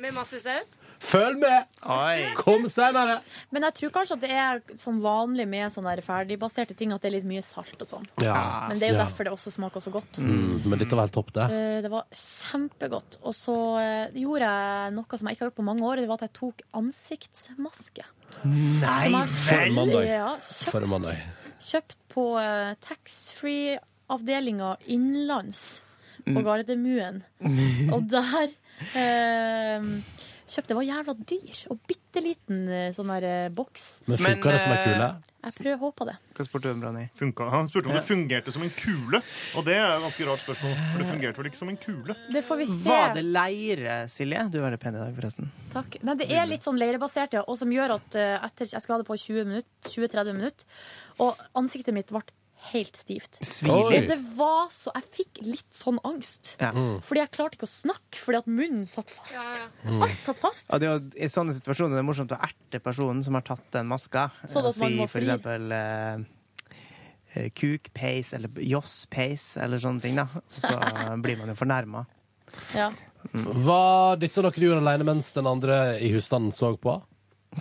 S10: Med masse saus.
S2: Følg med!
S3: Oi!
S2: Kom senere!
S6: men jeg tror kanskje at det er som vanlig med sånne der ferdigbaserte ting, at det er litt mye salt og sånn.
S3: Ah.
S2: Ja.
S6: Men det er jo
S2: Ja.
S6: derfor det også smaker så godt.
S2: Mm, men dette var helt topp, det.
S6: Eh, Det var kjempegodt. Og så eh, gjorde jeg noe som jeg ikke har gjort på mange år. Det var at jeg tok ansiktsmaske. Som
S3: Nei!
S6: jeg
S2: For mandag.
S6: Ja,
S2: For
S6: kjøpt,
S2: en mandag.
S6: kjøpt på eh, taxfree-avdelinga innenlands
S2: Mm.
S6: på
S2: (laughs)
S6: Gardermuen. Og der eh, kjøpte Det var jævla dyr. Og bitte liten eh, sånn der eh, boks.
S2: Men eh,
S3: Men,
S2: funka det som ei kule?
S6: Jeg prøv håpa det.
S3: Hva spurte du om, Ronny?
S4: Funka. Han spurte om det fungerte som en kule, og det er et ganske rart spørsmål. For det fungerte vel ikke som en kule?
S6: Det får vi se.
S3: Var det leire, Silje? Du er veldig pen i dag, forresten.
S6: Takk. Nei, det er litt sånn leirebasert, ja, og som gjør at eh, etter jeg skulle ha det på 20 minutter, 20-30 minutter, og ansiktet mitt ble helt stivt.
S2: Oi.
S6: Og det var så Jeg fikk litt sånn angst.
S3: Ja.
S6: Fordi jeg klarte ikke å snakke, fordi at munnen satt fast.
S10: Ja, ja.
S6: Alt satt fast.
S3: Og det er jo, I sånne situasjoner er det morsomt å erte personen som har tatt den maska. Eh,
S6: Sånn at man
S3: si
S6: må
S3: for
S6: flire.
S3: eksempel eh, eh, kukpeis eller josspeis eller sånne ting. da. Så
S6: (laughs)
S3: blir man jo fornærma.
S6: Ja.
S2: Var dette noe du gjorde alene mens den andre i husstanden så på?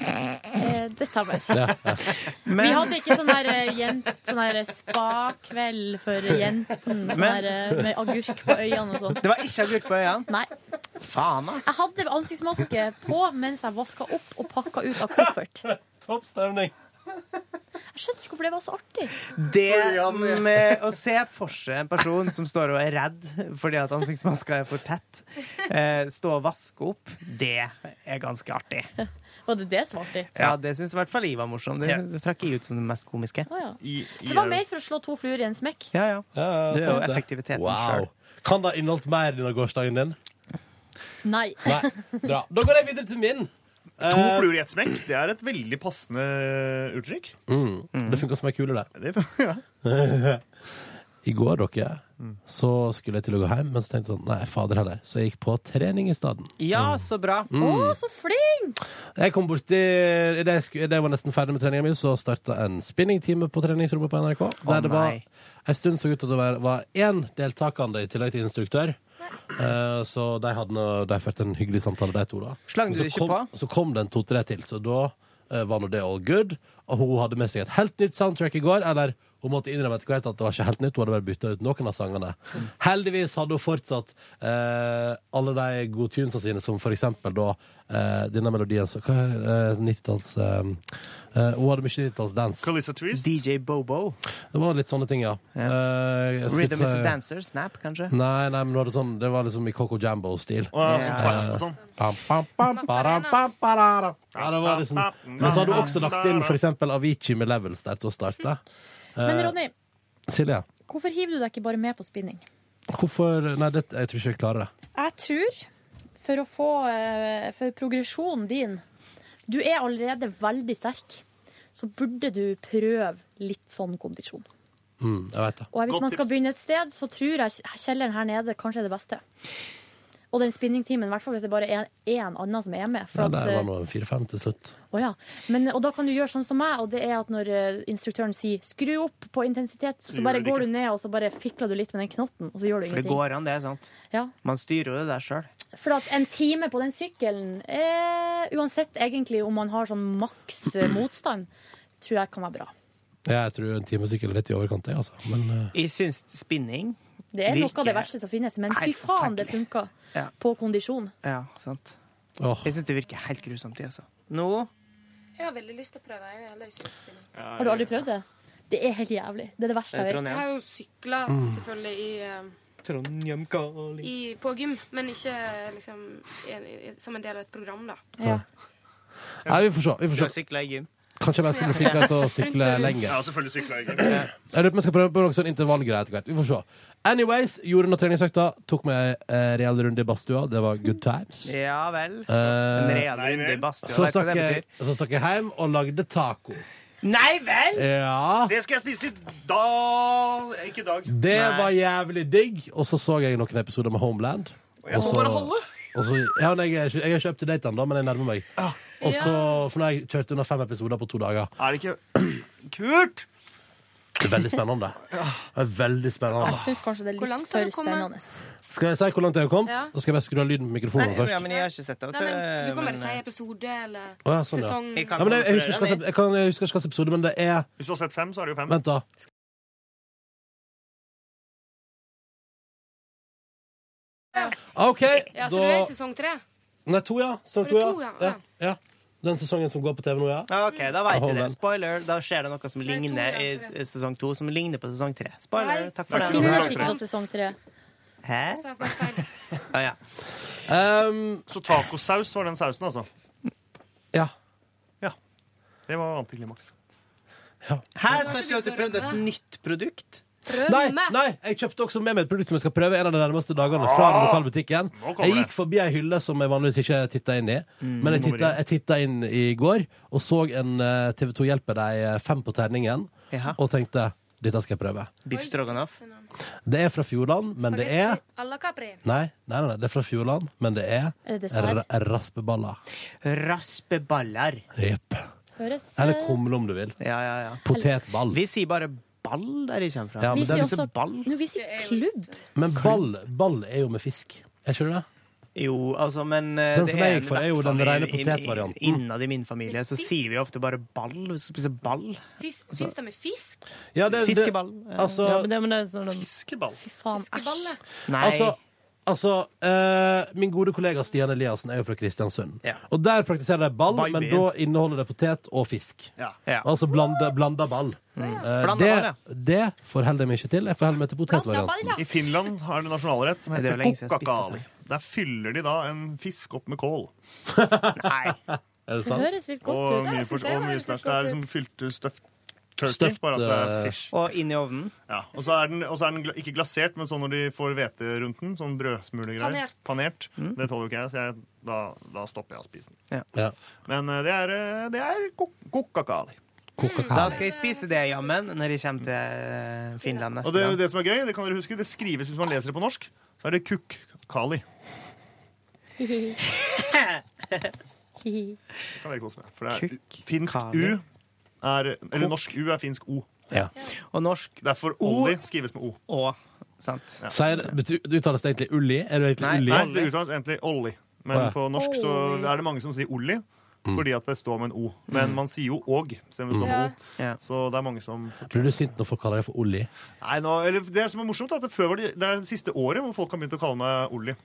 S6: Eh, det det stemmer. Vi
S3: Men,
S6: hadde ikke sånn her, eh, jent- sånn her spa-kveld for jenten sånn
S3: Men-
S6: her, eh, med agurk på øynene og sånn.
S3: det var ikke agurk på øynene.
S6: Nei.
S3: Faen, da.
S6: Jeg hadde ansiktsmaske på mens jeg vaska opp og pakka ut av koffert.
S2: Topp stemning.
S6: Jeg skjønte ikke hvorfor det var så artig.
S3: Det med å se for seg en person som står og er redd fordi at ansiktsmaska er for tett, eh, stå og vaske opp, det er ganske artig.
S6: Var det det som var artig?
S3: Ja, det syns i hvert fall jeg var morsom. Det, det trakk jeg ut som det mest komiske.
S6: Å, ja.
S4: I, i,
S6: Det var mer for å slå to fluer i en smekk.
S3: Ja, ja. Det er jo
S2: topp det.
S3: effektiviteten
S2: Wow.
S3: selv.
S2: Kan det ha inneholdt mer enn gårsdagen din?
S6: Nei.
S2: Nei. Bra. Da går jeg videre til min.
S4: To
S2: Eh,
S4: fluer i ett smekk. Det er et veldig passende uttrykk.
S3: Mm.
S2: Det funka som ei kule, det.
S4: Det, (laughs) ja.
S2: I går, dere,
S3: Mm.
S2: så skulle jeg til å gå hjem, men så tenkte jeg sånn Nei, fader heller. Så jeg gikk på trening i stedet.
S3: Ja, så bra.
S6: Å, så flink!
S2: Jeg kom borti Idet jeg, sku- idet jeg var nesten ferdig med treninga mi, så starta en spinningtime på treningsrommet på NRK. Der det var
S3: nei.
S2: en stund så ut til å være var én deltakende i tillegg til instruktør. Eh, så de hadde nå- de førte en hyggelig samtale, de to. da
S3: Slang du
S2: så
S3: ikke
S2: kom,
S3: på?
S2: Så kom det en to-tre til, så da eh, var nå det all good. Og hun hadde med seg et helt nytt soundtrack i går. Eller hun måtte innrømme etter hvert at det var ikke helt nytt, hun hadde bare bytta ut noen av sangene. Heldigvis hadde hun fortsatt eh, alle de gode tunesa sine, som for eksempel da eh, denne melodien så, Hva er eh, 90-talls eh, eh, Hun hadde mye 90-tallsdance.
S4: Calissa Twist.
S3: DJ Bobo.
S2: Det var litt sånne ting, ja. Eh, jeg skulle
S3: Rhythm is
S2: si-
S3: a dancer. Snap, kanskje.
S2: Nei, nei, men det var, det sånn, det var liksom i Coco Jambo-stil.
S4: Og ja, sånn twist og sånn.
S2: Pam, pam, pam, param, pam, pararam. Ja, det var liksom Men så hadde du også lagt inn for eksempel Avicii med Levels der til å starte.
S6: Men Ronny,
S2: Silje,
S6: hvorfor hiver du deg ikke bare med på spinning?
S2: hvorfor Nei, det, jeg tror ikke jeg klarer det.
S6: Jeg tror, for å få eh, For progresjonen din Du er allerede veldig sterk. Så burde du prøve litt sånn kondisjon.
S2: Mm, jeg vet det.
S6: Og hvis
S4: Godt
S6: man skal
S4: tips.
S6: begynne et sted, så tror jeg kjelleren her nede kanskje er det beste. Og den spinningtimen, i hvert fall hvis det bare er én annen som er med. For
S2: Ja,
S6: at,
S2: det
S6: eh,
S2: var nå en fire-fem til slutt.
S6: Å ja. Men, og da kan du gjøre sånn som meg, og det er at når eh, instruktøren sier 'skru opp på intensitet', så
S4: gjør
S6: bare
S4: du det
S6: går
S4: ikke.
S6: du ned og så bare fikler du litt med den knotten, og så gjør du
S3: For det
S6: ingenting.
S3: går an, det. sant?
S6: Ja.
S3: Man styrer jo det der sjøl.
S6: For at en time på den sykkelen, eh, uansett egentlig om man har sånn maks eh, motstand, tror jeg kan være bra.
S2: Jeg tror en time sykkel er litt i overkant, jeg, altså. Men eh,
S3: Jeg syns spinning
S6: Det er noe
S3: Virker-
S6: av det verste som finnes, men
S3: Nei,
S6: fy faen, det
S3: forferdelig.
S6: funka
S3: Ja.
S6: på kondisjon.
S3: Ja, sant.
S2: åh,
S3: Jeg syns det virker helt grusomt, jeg, altså. Nå
S10: Jeg har veldig lyst til å prøve. Jeg har heller ikke lyst til å spinne.
S6: Har du aldri prøvd det? Det er helt jævlig. Det er det verste
S3: er det
S6: jeg vet.
S10: Jeg
S3: Trondheim.
S10: har jo sykla selvfølgelig i, eh,
S3: Trondheim Kali.
S10: i, på gym, men ikke eh, liksom i- i- som en del av et program, da.
S6: Ja.
S2: Nei, vi får se. Vi
S3: Du har
S2: får se.
S3: sykla i gym?
S2: Kanskje jeg bare skulle bli flinkere til å sykle lenger.
S4: Jeg har selvfølgelig sykla, egentlig.
S2: Jeg lurer på om jeg skal prøve på noe sånn intervallgreier etter hvert. Vi får se. Anyways, gjorde noen treningsøkta. Tok meg en reell runde i badstua. Det var good times.
S3: Ja vel. En
S2: Eh,
S3: real runde i badstua.
S2: så
S3: vet du hva
S2: stakk
S3: det
S2: jeg,
S3: betyr?
S2: så stakk jeg hjem og lagde taco.
S3: Nei vel!
S2: Ja.
S4: Det skal jeg spise i dag Eh, Ikke i dag.
S2: Det
S3: Nei.
S2: var jævlig digg. Og så så jeg noen episoder med Homeland.
S4: Jeg så
S2: Også-
S4: bare halve.
S2: Og så, ja, men jeg, er ikke- jeg er ikke up to date ennå, men jeg nærmer meg. Og så, For nå har jeg kjørt under fem episoder på to dager.
S4: Er det ikke (clears throat) Kult!
S2: Det er veldig spennende. Det er veldig
S6: Jeg
S2: spennende.
S6: syns kanskje det er
S10: Hvor
S6: litt
S10: langt har
S6: for
S10: du kommet?
S6: spennende.
S2: Skal jeg si hvor langt jeg har kommet?
S10: Ja.
S2: Da skal jeg bare skru av lyden på mikrofonen
S3: Nei, ja,
S2: først.
S3: men jeg har ikke sett det. vet
S10: Nei, men Du kan bare
S3: men,
S10: si
S3: eh,
S10: episode eller
S2: Å, ja, sånn, ja.
S10: sesong.
S3: jeg kan
S2: Ja, men jeg, jeg,
S3: komme
S2: husker ikke
S3: for det.
S2: hva- jeg, kan, jeg husker ikke hvilken episode, men det er
S4: Hvis du har sett fem, så er det jo fem.
S2: Vent, da.
S10: Ja.
S2: OK,
S10: Ja, Så du er
S2: da
S10: i sesong tre?
S2: Nei, to, ja. Sesong
S10: Var
S2: to,
S10: det
S2: ja.
S10: to, ja?
S2: ja. ja. Den sesongen som går på TV nå, ja.
S3: OK, da veit
S2: Hold
S3: jeg det.
S2: den.
S3: Spoiler. Da skjer det noe som
S10: er to,
S3: ligner i
S10: ja,
S3: i sesong to, som ligner på sesong tre. Spoiler.
S10: Nei.
S3: Takk for
S6: Finnes
S3: den.
S4: Sesong
S6: ikke
S4: tre.
S6: noe sesong tre.
S3: Hæ?
S10: Jeg sa bare feil.
S3: Å ja.
S2: Um,
S4: Så tacosaus var den sausen, altså.
S2: ja.
S4: Det var antiklimaks.
S3: Her sa ikke du at du prøvde et nytt produkt?
S10: Prøv
S2: Nei,
S10: meg!
S2: nei, jeg kjøpte også med meg et produkt som jeg skal prøve en av de nærmeste dagene. fra den lokale butikken.
S4: Ah, Nå kommer
S2: Jeg
S4: det. Mm,
S2: gikk forbi ei hylle som jeg vanligvis ikke titta inn i. Men jeg
S4: må
S2: titta,
S4: vri.
S2: jeg titta inn i går og så en eh, TV 2 hjelper deg eh, fem på terningen,
S3: Jaha.
S2: og tenkte dette skal jeg prøve.
S3: Biff stroganoff?
S2: Det er fra Fjordland, men det er
S10: Spagetti à la Capri.
S2: Nei, nei, nei, det er fra Fjordland, men det er
S6: Er
S2: r
S6: det dessert?
S2: raspeballer.
S3: Raspeballer.
S2: Jepp.
S6: Høres eh,
S2: Eller kumle, om du vil.
S3: Ja, ja, ja.
S2: Potetball.
S3: Vi sier bare ball der jeg kommer fra.
S2: Ja, men,
S6: Vi
S2: liksom-
S6: sier
S2: den,
S6: også
S3: ball.
S6: Nå, vi sier klubb.
S2: men ball, ball er jo med fisk. Er ikke det det?
S3: Jo, altså, men eh,
S2: Den
S3: det
S2: som jeg gikk for,
S3: i
S2: er jo
S3: hvert
S2: den
S3: fall i-
S2: rene
S3: i- i-
S2: potetvarianten.
S3: Innad i min familie så sier vi ofte bare ball. Vi skal spise ball.
S10: Fins det med fisk?
S2: Ja, det, det,
S3: Fiskeball. Eh,
S2: altså-
S3: ja, men det, men det er sånn,
S4: Fiskeball.
S5: Fy faen, æsj.
S10: Fiskeballe?
S3: nei.
S2: altså, altså eh, Min gode kollega Stian Eliassen er jo fra Kristiansund.
S3: Ja.
S2: Og der praktiserer de ball,
S3: Ball i
S2: men
S3: byen.
S2: da inneholder det potet og fisk.
S4: Ja.
S3: ja.
S2: Altså blanda, blanda ball. Eh,
S3: Blanda
S2: det,
S3: ball,
S2: det forholder jeg meg ikke til. Jeg forholder meg til
S10: Blanda ball,
S2: potetvarianten.
S10: ja.
S4: I Finland har de nasjonalrett som
S3: Det er
S4: heter
S3: jo lenge siden jeg spiste
S4: kokkakali. Der fyller de da en fisk opp med kål.
S3: Nei.
S2: Er det
S5: Det
S2: sant?
S5: høres litt
S4: Og
S5: godt ut.
S4: mye,
S10: synes
S4: for,
S10: jeg
S4: og
S10: var
S4: mye
S10: litt
S4: snacks. Det
S10: godt
S4: er
S10: ut.
S4: liksom fylte stuffed turkey,
S2: Stuffed,
S4: bare at det er
S2: eh,
S4: fish.
S3: Og inn i ovnen.
S4: Ja, og så er den, og så er den gla- ikke glasert, men sånn når de får hvete rundt den, sånn brødsmulegreier.
S10: Panert.
S4: Panert. Det tåler jo ikke jeg, så jeg, da, da stopper jeg å spise den.
S2: Ja.
S4: Men eh, det er, eh, det er kok- kokkakali.
S3: Da
S2: Kokakali.
S3: skal jeg spise det jammen når jeg kommer til eh, Finland
S4: Og
S3: neste
S4: det,
S3: gang.
S4: det som er gøy, det kan dere huske, det skrives hvis man leser det på norsk, så er det kukkakali.
S5: (laughs)
S4: Det kan dere kose med. For det er finsk U
S3: Kukkakali.
S4: er Eller norsk U er finsk O.
S2: Ja.
S3: Og norsk
S4: Derfor olli skrives med O.
S3: og sant.
S2: Sier, betyr, det uttales det egentlig Ulli? Er du egentlig
S3: Nei.
S2: Ulli?
S4: Nei, det uttales egentlig olli.
S2: Å,
S4: Men
S2: ja.
S4: på norsk så er det mange som sier olli. Fordi at det står med en O. Men man sier jo åg. Selv om det står med
S10: Ja.
S4: O.
S3: Ja.
S4: Så det er mange som
S2: Blir du sint når folk kaller deg for Olli?
S4: Nei, nå, eller Det som er morsomt, er at det, før var det, det er det siste året hvor folk har begynt å kalle meg Olli.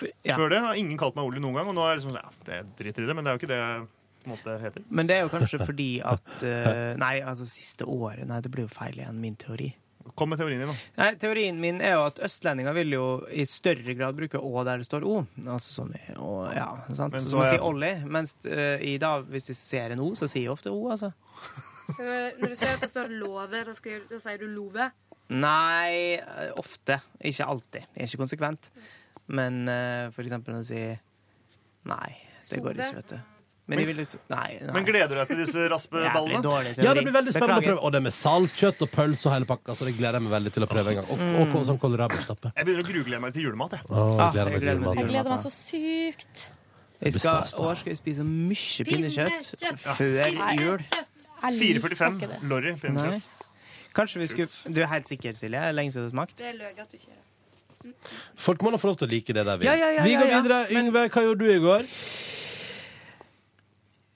S3: For- Ja.
S4: Før det har ingen kalt meg Olli noen gang, og nå er det liksom sånn, ja, det driter i det, men det er jo ikke det jeg på en måte heter.
S3: Men det er jo kanskje fordi
S2: (laughs)
S3: at eh, Nei, altså siste året. Nei, det blir jo feil igjen, min teori.
S4: Kom med teorien din, da.
S3: Nei, Teorien min er jo at østlendinger vil jo i større grad bruke å der det står o. Altså sånn i å, ja, sant?
S4: Men
S3: så,
S4: så
S3: man
S4: er-
S3: sier olli, mens eh, i da, hvis de ser en o, så sier jeg ofte o, altså.
S10: Så når når du ser at det står love, da, skriver, da sier du love.
S3: Nei, eh, ofte. Ikke alltid. Jeg er ikke konsekvent. Men eh, for eksempel å si Nei, det går ikke,
S10: Sove.
S3: vet du. Men de vil liksom Nei. nei.
S4: Men gleder du deg til disse
S3: Jævlig
S4: raspeballene?
S3: dårlig teori.
S2: Ja, det blir veldig spennende
S3: Beklager.
S2: å prøve. Og det med saltkjøtt og pølse og hele pakka, så det gleder jeg meg veldig til å prøve en gang. Og,
S3: Mm.
S2: og, og sånn kålrabistappe.
S4: Jeg begynner å grugle meg til julemat, jeg.
S2: Å, jeg
S3: Ah,
S2: gleder meg til
S3: jeg gleder meg til
S2: julemat.
S5: Jeg gleder meg så sykt.
S3: Jeg
S2: Det blir
S3: skal,
S2: stas, da.
S3: og skal jeg spise mye pinnekjøtt
S10: Pinnekjøtt.
S3: før jul.
S5: Jeg liker ikke
S4: 4,45.
S5: det.
S4: Lorry.
S3: Nei.
S4: pinnekjøtt.
S3: Kanskje vi skulle Du er helt sikker, Silje? Det er Lenge siden du har smakt?
S10: Det er løgn at du ikke gjør det.
S2: Folk må da få lov til å like det der vi
S3: Ja, ja, ja,
S2: Vi
S3: ja,
S2: går
S3: ja.
S2: videre. Yngve, hva gjorde du i går?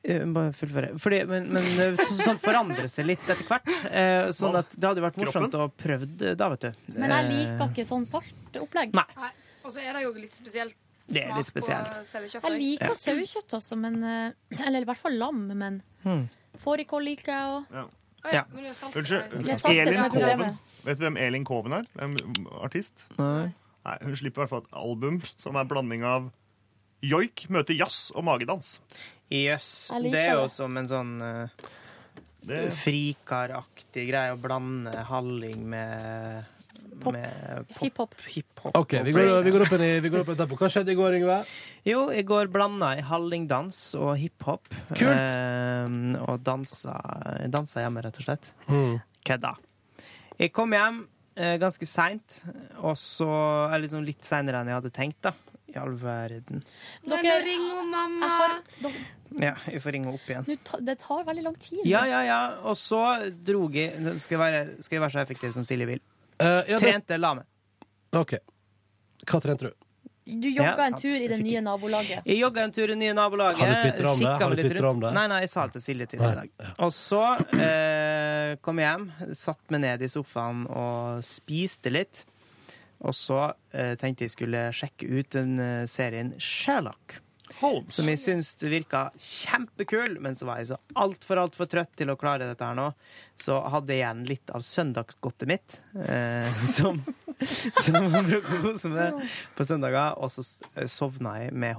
S3: Eh, Bare fullføre. Fordi, men men eh, så- sånn forandrer seg litt etter hvert. eh, Sånn at det hadde vært morsomt å prøve det da, vet du.
S5: Men jeg
S3: Eh,
S5: liker ikke sånn saltopplegg.
S3: Nei.
S10: Nei. Og så er det jo litt spesielt
S3: Det er litt
S10: smak på
S3: spesielt.
S10: sauekjøtt.
S5: Jeg
S10: også.
S5: liker sauekjøtt, altså, men eh, Eller i hvert fall lam, men
S2: Hmm.
S5: fårikål liker jeg òg.
S10: Oi,
S3: Ja.
S10: men det er salt.
S4: Unnskyld.
S10: Nei,
S5: Det er salt,
S10: salt.
S5: det som
S4: Elin
S5: er problemet.
S4: Koven. Vet du hvem Elin Koven er? En artist?
S3: Nei.
S4: Nei, Hun slipper i hvert fall et album som er blanding av joik, møte jazz og magedans.
S3: Jøss.
S5: Jeg liker
S3: Det er jo
S5: det.
S3: som en sånn eh,
S4: Det,
S3: frikaraktig greie å blande halling med
S5: Pop.
S3: med pop-
S5: Hiphop.
S3: hiphop.
S2: OK, vi går, vi går opp en, i- vi går opp en tempo. Hva skjedde i går, Yngve?
S3: Jo, i går blanda jeg hallingdans og hiphop.
S2: Kult.
S3: Eh, og dansa, dansa hjemme, rett og slett.
S2: Mm.
S3: Kødda. Jeg kom hjem eh, ganske seint, og så eller liksom litt seinere enn jeg hadde tenkt, da. I all verden.
S10: Men
S5: Dere-
S10: ring om mamma.
S5: Jeg har, da,
S3: Ja, jeg får ringe opp igjen.
S5: nå ta, det tar veldig lang tid.
S3: Ja, ja, ja. Og så drog jeg Skal jeg være, skal jeg være så effektiv som Silje vil.
S2: Eh, ja, det,
S3: Trente, la meg.
S2: OK. Hva trente du?
S5: Du
S3: Ja,
S5: jogga en
S3: sant.
S5: tur i
S3: Jeg
S5: det
S3: fikk
S5: nye nabolaget.
S3: Jeg jogga en tur i det nye nabolaget.
S2: Har du twittret om det?
S3: kikket
S2: Har du
S3: meg litt
S2: twittret
S3: rundt.
S2: om det?
S3: Nei, nei, jeg sa det til Silje tidligere
S2: Nei.
S3: i dag. Og så eh, kom jeg hjem, satt meg ned i sofaen og spiste litt. Og så eh, tenkte jeg skulle sjekke ut den eh, serien Sherlock. Som jeg syns virka kjempekul, men så var jeg så altfor, altfor trøtt til å klare dette her nå. Så hadde jeg igjen litt av søndagsgodtet mitt, eh, (laughs) som, som man bruker å kose med på søndager. Og så s- sovna jeg med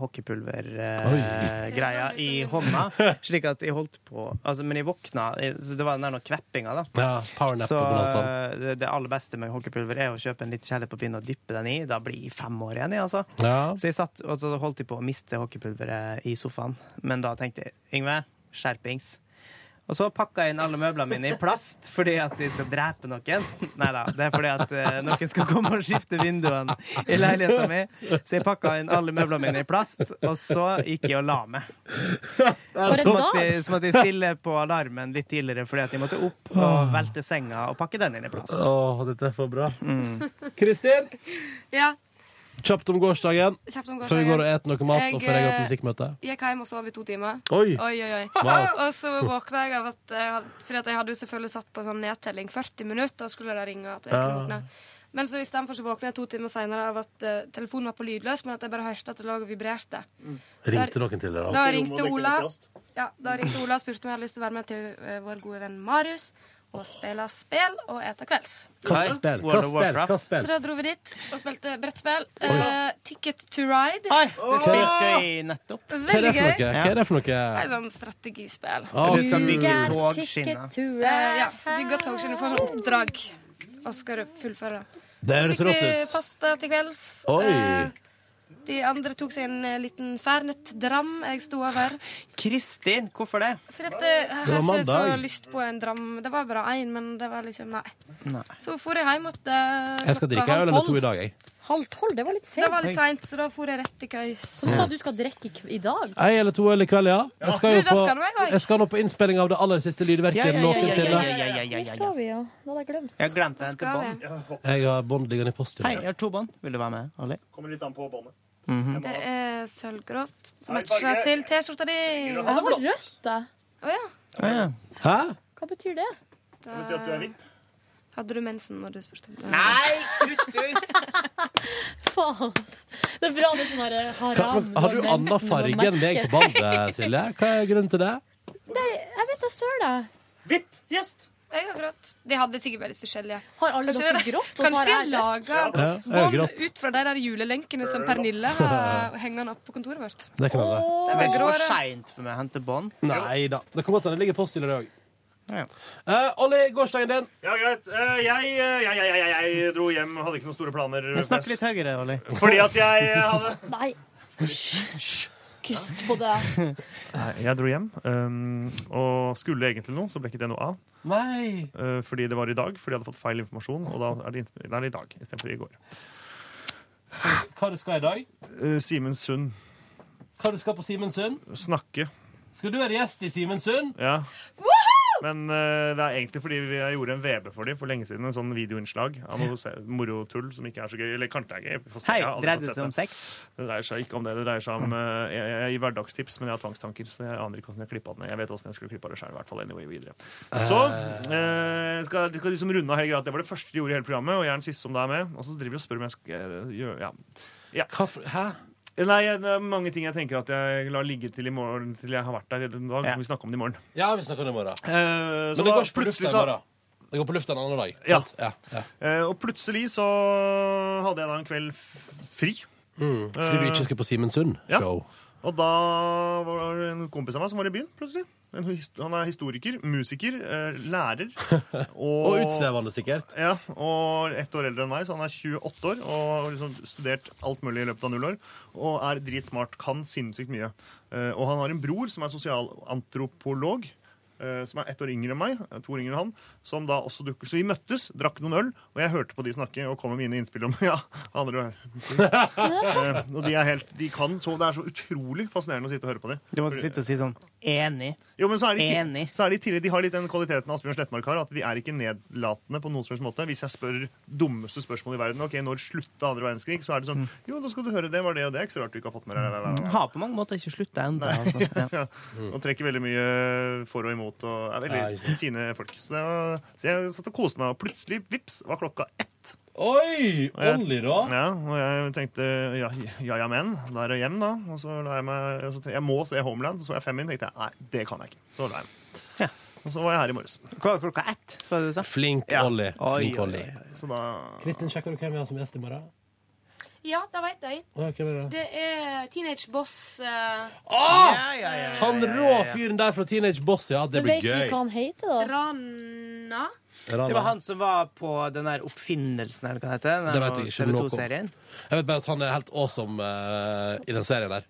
S3: hockeypulvergreia eh, greia i hånda, slik at jeg holdt på altså, Men jeg våkna jeg- så Det var den der noe kveppinga, da.
S2: Ja, powernap
S3: Så
S2: og bonanza.
S3: eh, det, det aller beste med hockeypulver er å kjøpe en liten kjele på pinnen og dyppe den i. Da blir jeg fem år igjen, jeg, altså.
S2: Ja.
S3: Så jeg satt og så holdt jeg på å miste hockeypulveret i sofaen. Men da tenkte jeg Yngve, skjerpings. Og så pakka jeg inn alle møblene mine i plast fordi at de skal drepe noen. Nei da, det er fordi at eh, noen skal komme og skifte vinduene i leiligheta mi. Så jeg pakka inn alle møblene mine i plast, og så gikk jeg og la meg.
S5: For
S3: Så
S5: en
S3: måtte,
S5: dag!
S3: jeg, så måtte jeg stille på alarmen litt tidligere fordi at jeg måtte opp og velte senga og pakke den inn i plast.
S2: (laughs) Åh, dette er for bra. Kristin?
S10: Ja.
S2: Mm. Kjapt om gårsdagen,
S10: Kjapt om
S2: før vi går og
S10: gårsdagen.
S2: et noe mat, og
S10: Jeg,
S2: før jeg går på
S10: eh,
S2: musikkmøte.
S10: Gikk hjem og sov i to timer.
S2: Oi!
S10: Oi, oi, oi.
S2: Wow.
S10: Og så våkna jeg av at jeg hadde, Fordi at jeg hadde jo selvfølgelig satt på sånn nedtelling 40 minutter, og skulle da ringe at jeg
S2: Ja.
S10: kunne våkne. Men så istedenfor så våkna jeg to timer seinere av at eh, telefonen var på lydløs, men at jeg bare hørte at det lå og vibrerte.
S2: Ringte noen til deg, da?
S10: Da ringte Ola Ja, da ringte Ola og spurte om jeg hadde lyst til å være med til eh, vår gode venn Marius og spille spill og ete kvelds.
S2: Hva slags spill? Hva
S3: World
S2: slags spill? Hva slags
S3: of
S10: Så
S2: spill?
S10: da dro vi dit og spilte brettspill. Eh, Ticket to ride.
S3: Nei, det spilte jeg nettopp.
S2: Hva er Ah,
S10: Veldig
S2: det for
S10: gøy.
S2: noe? Hva er det for noe?
S10: Det er sånn strategispill.
S2: Å,
S3: Du skal bygge
S5: Got
S3: togskinner.
S5: ticket to
S10: Eh,
S5: ride.
S10: ja, så bygger togskinner får sånn oppdrag, og skal du fullføre det.
S2: det høres
S10: Fikk vi
S2: rått ut.
S10: pasta til kvelds.
S2: Oi.
S10: Eh, De andre tok seg en eh, liten færnøttdram jeg sto over.
S3: Kristin, hvorfor det?
S10: For dette har
S2: var
S10: jeg ikke så
S2: mandag.
S10: lyst på en dram. Det var bare én, men det var liksom Nei.
S3: Nei.
S10: Så for jeg hjem at eh,
S2: Jeg skal
S10: klokka
S2: drikke
S10: halv
S2: øl eller to
S10: tolv.
S2: i dag, jeg.
S5: Halv tolv, det var litt
S10: Det
S5: sent.
S10: var litt seint, så da for jeg rett til køys.
S5: Så du sa du skal drikke i kv- i dag?
S2: Ei eller to øl i kveld, ja. Jeg skal, jo
S10: Du, da skal nå jeg
S2: på,
S10: også.
S2: jeg skal nå på innspilling av det aller siste
S3: Ja,
S2: lydverket
S3: ja, ja, ja, ja,
S2: noensinne.
S3: ja, ja, ja,
S5: Hvor
S3: ja, ja.
S5: skal vi, ja? Det hadde jeg glemt.
S3: Jeg glemte en til
S10: Skal
S3: bånd.
S10: vi?
S2: Jeg har bånd liggende i posten.
S3: Hei, jeg har to bånd. Vil du være med, Ali?
S4: Kommer litt an på båndet.
S10: Det er sølvgrått.
S4: Nei,
S10: Matcha
S4: farge.
S10: til T-skjorta di.
S5: Ja, det var rødt, da.
S10: Å ja.
S2: Hæ?
S5: Hva betyr det?
S10: Da hadde du mensen når du spurte om det.
S8: Nei, slutt ut!
S5: Faen. ass. Det er bra med sånn her
S2: Hva-
S5: haram.
S2: Har du
S5: og
S2: annen
S5: mensen
S2: farge
S5: og
S2: enn deg på
S5: merkes.
S2: bandet, Silje? Hva er grunnen til det?
S5: Jeg vet da søren, jeg.
S4: Vipp! Gjest!
S10: Jeg har grått. De hadde sikkert vært litt forskjellige.
S5: Har alle
S10: Kanskje
S5: dere
S10: det-
S5: grått, og så
S10: Kanskje
S5: har
S10: de har
S5: jeg rødt?
S10: laga
S2: Ja, jeg har
S10: bånd
S2: grått.
S10: ut fra de der julelenkene som Pernille
S2: (laughs)
S10: har hengende opp på kontoret vårt.
S2: Det kan jeg være.
S10: Det
S3: Det
S10: var
S3: er ikke for
S10: gråere.
S3: seint for meg å hente bånd.
S2: Nei da. Det kan godt hende det ligger post i det òg.
S3: Ja.
S2: Uh, Olli, gårsdagen din.
S4: Ja, greit. Eh, Jeg, eh, jeg, jeg, jeg, jeg, jeg dro hjem, hadde ikke noen store planer.
S3: Men Snakk litt høyere, Olli.
S4: Fordi at jeg eh, hadde
S5: Nei. Hysj. Kyst på det.
S4: Jeg dro hjem um, og skulle egentlig noe, så ble ikke det noe av.
S3: Nei.
S4: Eh, fordi det var i dag, fordi jeg hadde fått feil informasjon. Og da er det, innsp- da er det i dag istedenfor i går.
S2: Hva du skal i dag?
S4: Eh, Simen Sund.
S2: Hva du skal på Simensund?
S4: Snakke.
S2: Skal du være gjest i Simensund?
S4: Ja. Men eh, det er egentlig fordi vi- jeg gjorde en VB for dem for lenge siden. En sånn videoinnslag av noe se- morotull som ikke er så gøy. Eller kanskje det er gøy. Vi får se.
S3: Hei,
S4: Jeg har aldri
S3: dreide
S4: fått
S3: det
S4: sett
S3: seg om sex?
S4: Det dreier seg ikke om det. Det dreier seg om eh, jeg, jeg gir hverdagstips, men jeg har tvangstanker. Så jeg aner ikke hvordan jeg klippa den. Jeg vet hvordan jeg skulle klippa det sjøl. Anyway, videre. så eh, skal, skal liksom runde av hele greia. Det var det første de gjorde i hele programmet, og jeg er den siste som da er med. Og så driver de og spør om jeg skal eh, gjøre ja.
S2: Hva for, hæ?
S4: Nei, eh, det er mange ting jeg tenker at jeg lar ligge til i morgen, til jeg har vært der. i dag. Da
S3: Ja.
S4: kan vi snakke om det i morgen.
S2: Ja, vi snakker om det i morgen.
S4: Eh, så
S2: Men det
S4: da
S2: går ikke på lufta
S4: plutselig
S2: i
S4: så-
S2: morgen. Det går på lufta en annen dag.
S4: Ja.
S2: sant? ja, ja.
S4: eh, og plutselig så hadde jeg da en kveld f fri.
S2: Fordi du ikke skal på
S4: Ja.
S2: Simensund-show.
S4: Og da var det en kompis av meg som var i byen, plutselig. En, his- han er historiker, musiker, eh, lærer.
S2: Og utslevende, sikkert.
S4: Ja, og ett år eldre enn meg, så han er 28 år og har liksom studert alt mulig i løpet av null år. Og er dritsmart, kan sinnssykt mye. Eh, Og han har en bror som er sosialantropolog, eh, som er ett år yngre enn meg, eh, to år yngre enn han, som da også dukker. Så vi møttes, drakk noen øl, og jeg hørte på de snakke og kom med mine innspill om (laughs) ja, andre øl. Eh, Og de er helt, de kan så, det er så utrolig fascinerende å sitte og høre på dem.
S3: Du måtte sitte og si sånn enig.
S4: Jo, men så er de,
S3: Enig.
S4: så er de, i tillegg- de har litt den kvaliteten Asbjørn Slettmark har, at de er ikke nedlatende på noen som helst måte. Hvis jeg spør dummeste spørsmål i verden, ok, når slutta andre verdenskrig, så er det
S3: Mm.
S4: sånn Jo, da skal du høre, det var det og det. Ikke så rart du ikke har fått med deg det, det. det,
S3: Har på mange måter ikke slutta ennå. (laughs) Altså. Ja.
S4: det. Og trekker veldig mye for og imot og er veldig
S2: Ja, ikke
S4: fine folk. Så, det var, så jeg satt og koste meg, og plutselig, vips, var klokka ett.
S2: Oi! Olli, da.
S4: Ja, og jeg tenkte ja ja, ja men, da er det hjem, da. Og så la jeg meg og så tenkte, Jeg må se Homeland, så så jeg fem min, tenkte jeg nei, det kan jeg ikke. Så la jeg meg.
S3: Ja.
S4: Og så var jeg her i morges.
S3: Hva var klokka ett? Hva var det du sa?
S2: Flink
S4: Ja.
S2: Olli.
S3: Oi,
S2: Flink
S3: oi,
S2: Olli.
S4: Så da
S2: Kristin, sjekker du hvem vi har som gjest i morgen?
S10: Ja, det veit jeg.
S2: Å, ja, hvem er det?
S10: Det er Teenage Boss. eh,
S3: Ja, ja, ja, ja.
S2: Han rå fyren der fra Teenage Boss, ja. Det
S5: Men
S2: blir
S5: vet du
S2: gøy.
S5: hva han heter, da?
S10: Rana.
S3: Det var han som var på den der oppfinnelsen, eller hva det heter.
S2: Det
S3: Den
S2: vet jeg ikke noe om.
S3: TV2-serien.
S2: Jeg vet bare at han er helt awesome eh, i den serien der.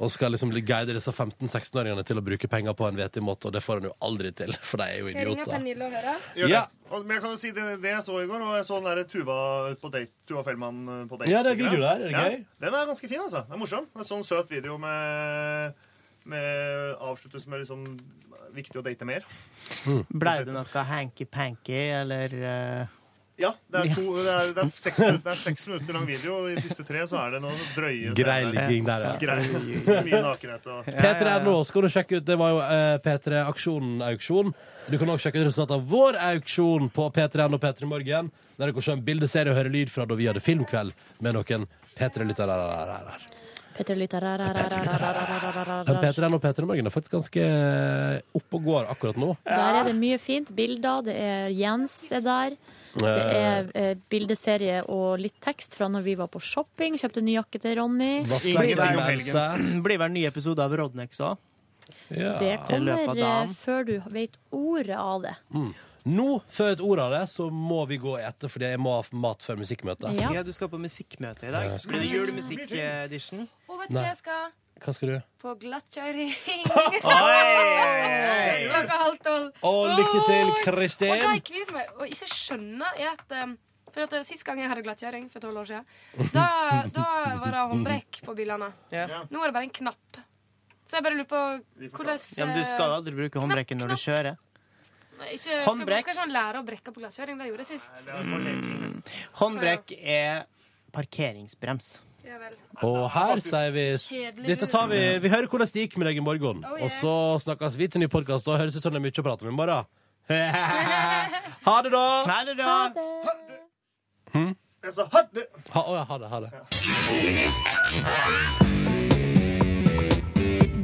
S2: Og skal liksom guide disse 15-16-åringene til å bruke penger på en vettig måte, og det får han jo aldri til, for de er jo
S10: Jeg ringer
S2: idioter.
S10: Pernille og hører.
S4: Gjør
S2: Ja.
S4: det. Og, men jeg kan jo si det, det jeg så i går, og jeg så den der Tuva ut på date. Tuva Fellmann eh, på date.
S2: Ja, det er
S4: ikke
S2: video der, er det gøy?
S4: Den er ganske fin, altså. Den er morsom. Det er sånn søt video med, med avsluttes med liksom viktig å date mer.
S3: Blei det noe hanky-panky, eller eh,
S4: Ja, det er, to, det er, det er, seks, minutter, det er seks minutter lang video, og de siste tre så er det noe drøye
S2: Grei
S4: scener.
S2: ligging der, ja.
S4: Grei. Mye nakenhet og
S2: P3.no skal du sjekke ut. Det var jo eh, P3-aksjonen auksjon. Du kan også sjekke ut resultatet av vår auksjon på P3.no og P3 Morgen. Der du kan se en bildeserie og høre lyd fra da vi hadde filmkveld med noen P3-lyttere.
S5: Petter lytter
S2: Men P3.no og P3 Morgen er faktisk ganske oppe og går akkurat nå.
S5: Der er det mye fint. Bilder. Det er Jens er der. Det er eh, bildeserie og litt tekst fra når vi var på shopping. Kjøpte ny jakke til Ronny.
S4: Ingenting om
S2: Vassengtilværelse.
S4: helgens.
S3: (clears throat) Det blir vel nye episoder av Rodnex òg.
S2: Ja.
S5: Det
S3: løpet av
S5: kommer
S3: dagen.
S5: eh, før du vet ordet av det.
S2: Nå, før et ord av det, så må vi gå etter, fordi jeg må ha mat før musikkmøtet.
S5: Ja.
S3: Ja, du skal på musikkmøte i dag. Blir det julemusikk-edition?
S10: Og vet du hva jeg skal?
S2: Hva skal du?
S10: På glattkjøring
S3: Oi!
S10: klokka halv tolv.
S2: Og lykke til, Kristin!
S10: Og det jeg kvier meg og ikke skjønner, er at um, for at Sist gang jeg hadde glattkjøring, for tolv år siden, da, da var det håndbrekk på bilene.
S3: Ja.
S10: Nå er det bare en knapp. Så jeg bare lurer på hvordan eh,
S3: Ja, men du skal aldri bruke håndbrekket når du kjører.
S10: Nei, ikke, skal, skal
S3: Håndbrekk.
S10: ikke man lære å brekke på glattkjøring? Det gjorde jeg sist.
S3: Håndbrekk er parkeringsbrems.
S10: Ja vel.
S2: Og her sier vi
S10: Kjedelig
S2: Dette tar vi, vi hører hvordan det gikk med deg i morgen.
S10: Oh, yeah.
S2: Og så snakkes vi til ny podkast. Da høres det ut som det er mye å prate om i morgen. (laughs) ha det, da!
S3: Ha det, da!
S4: Jeg sa, «Hæ, det-
S2: Ha, å ja, ha det. Ha det.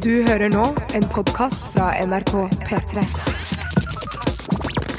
S1: Du hører nå en podkast fra NRK P3.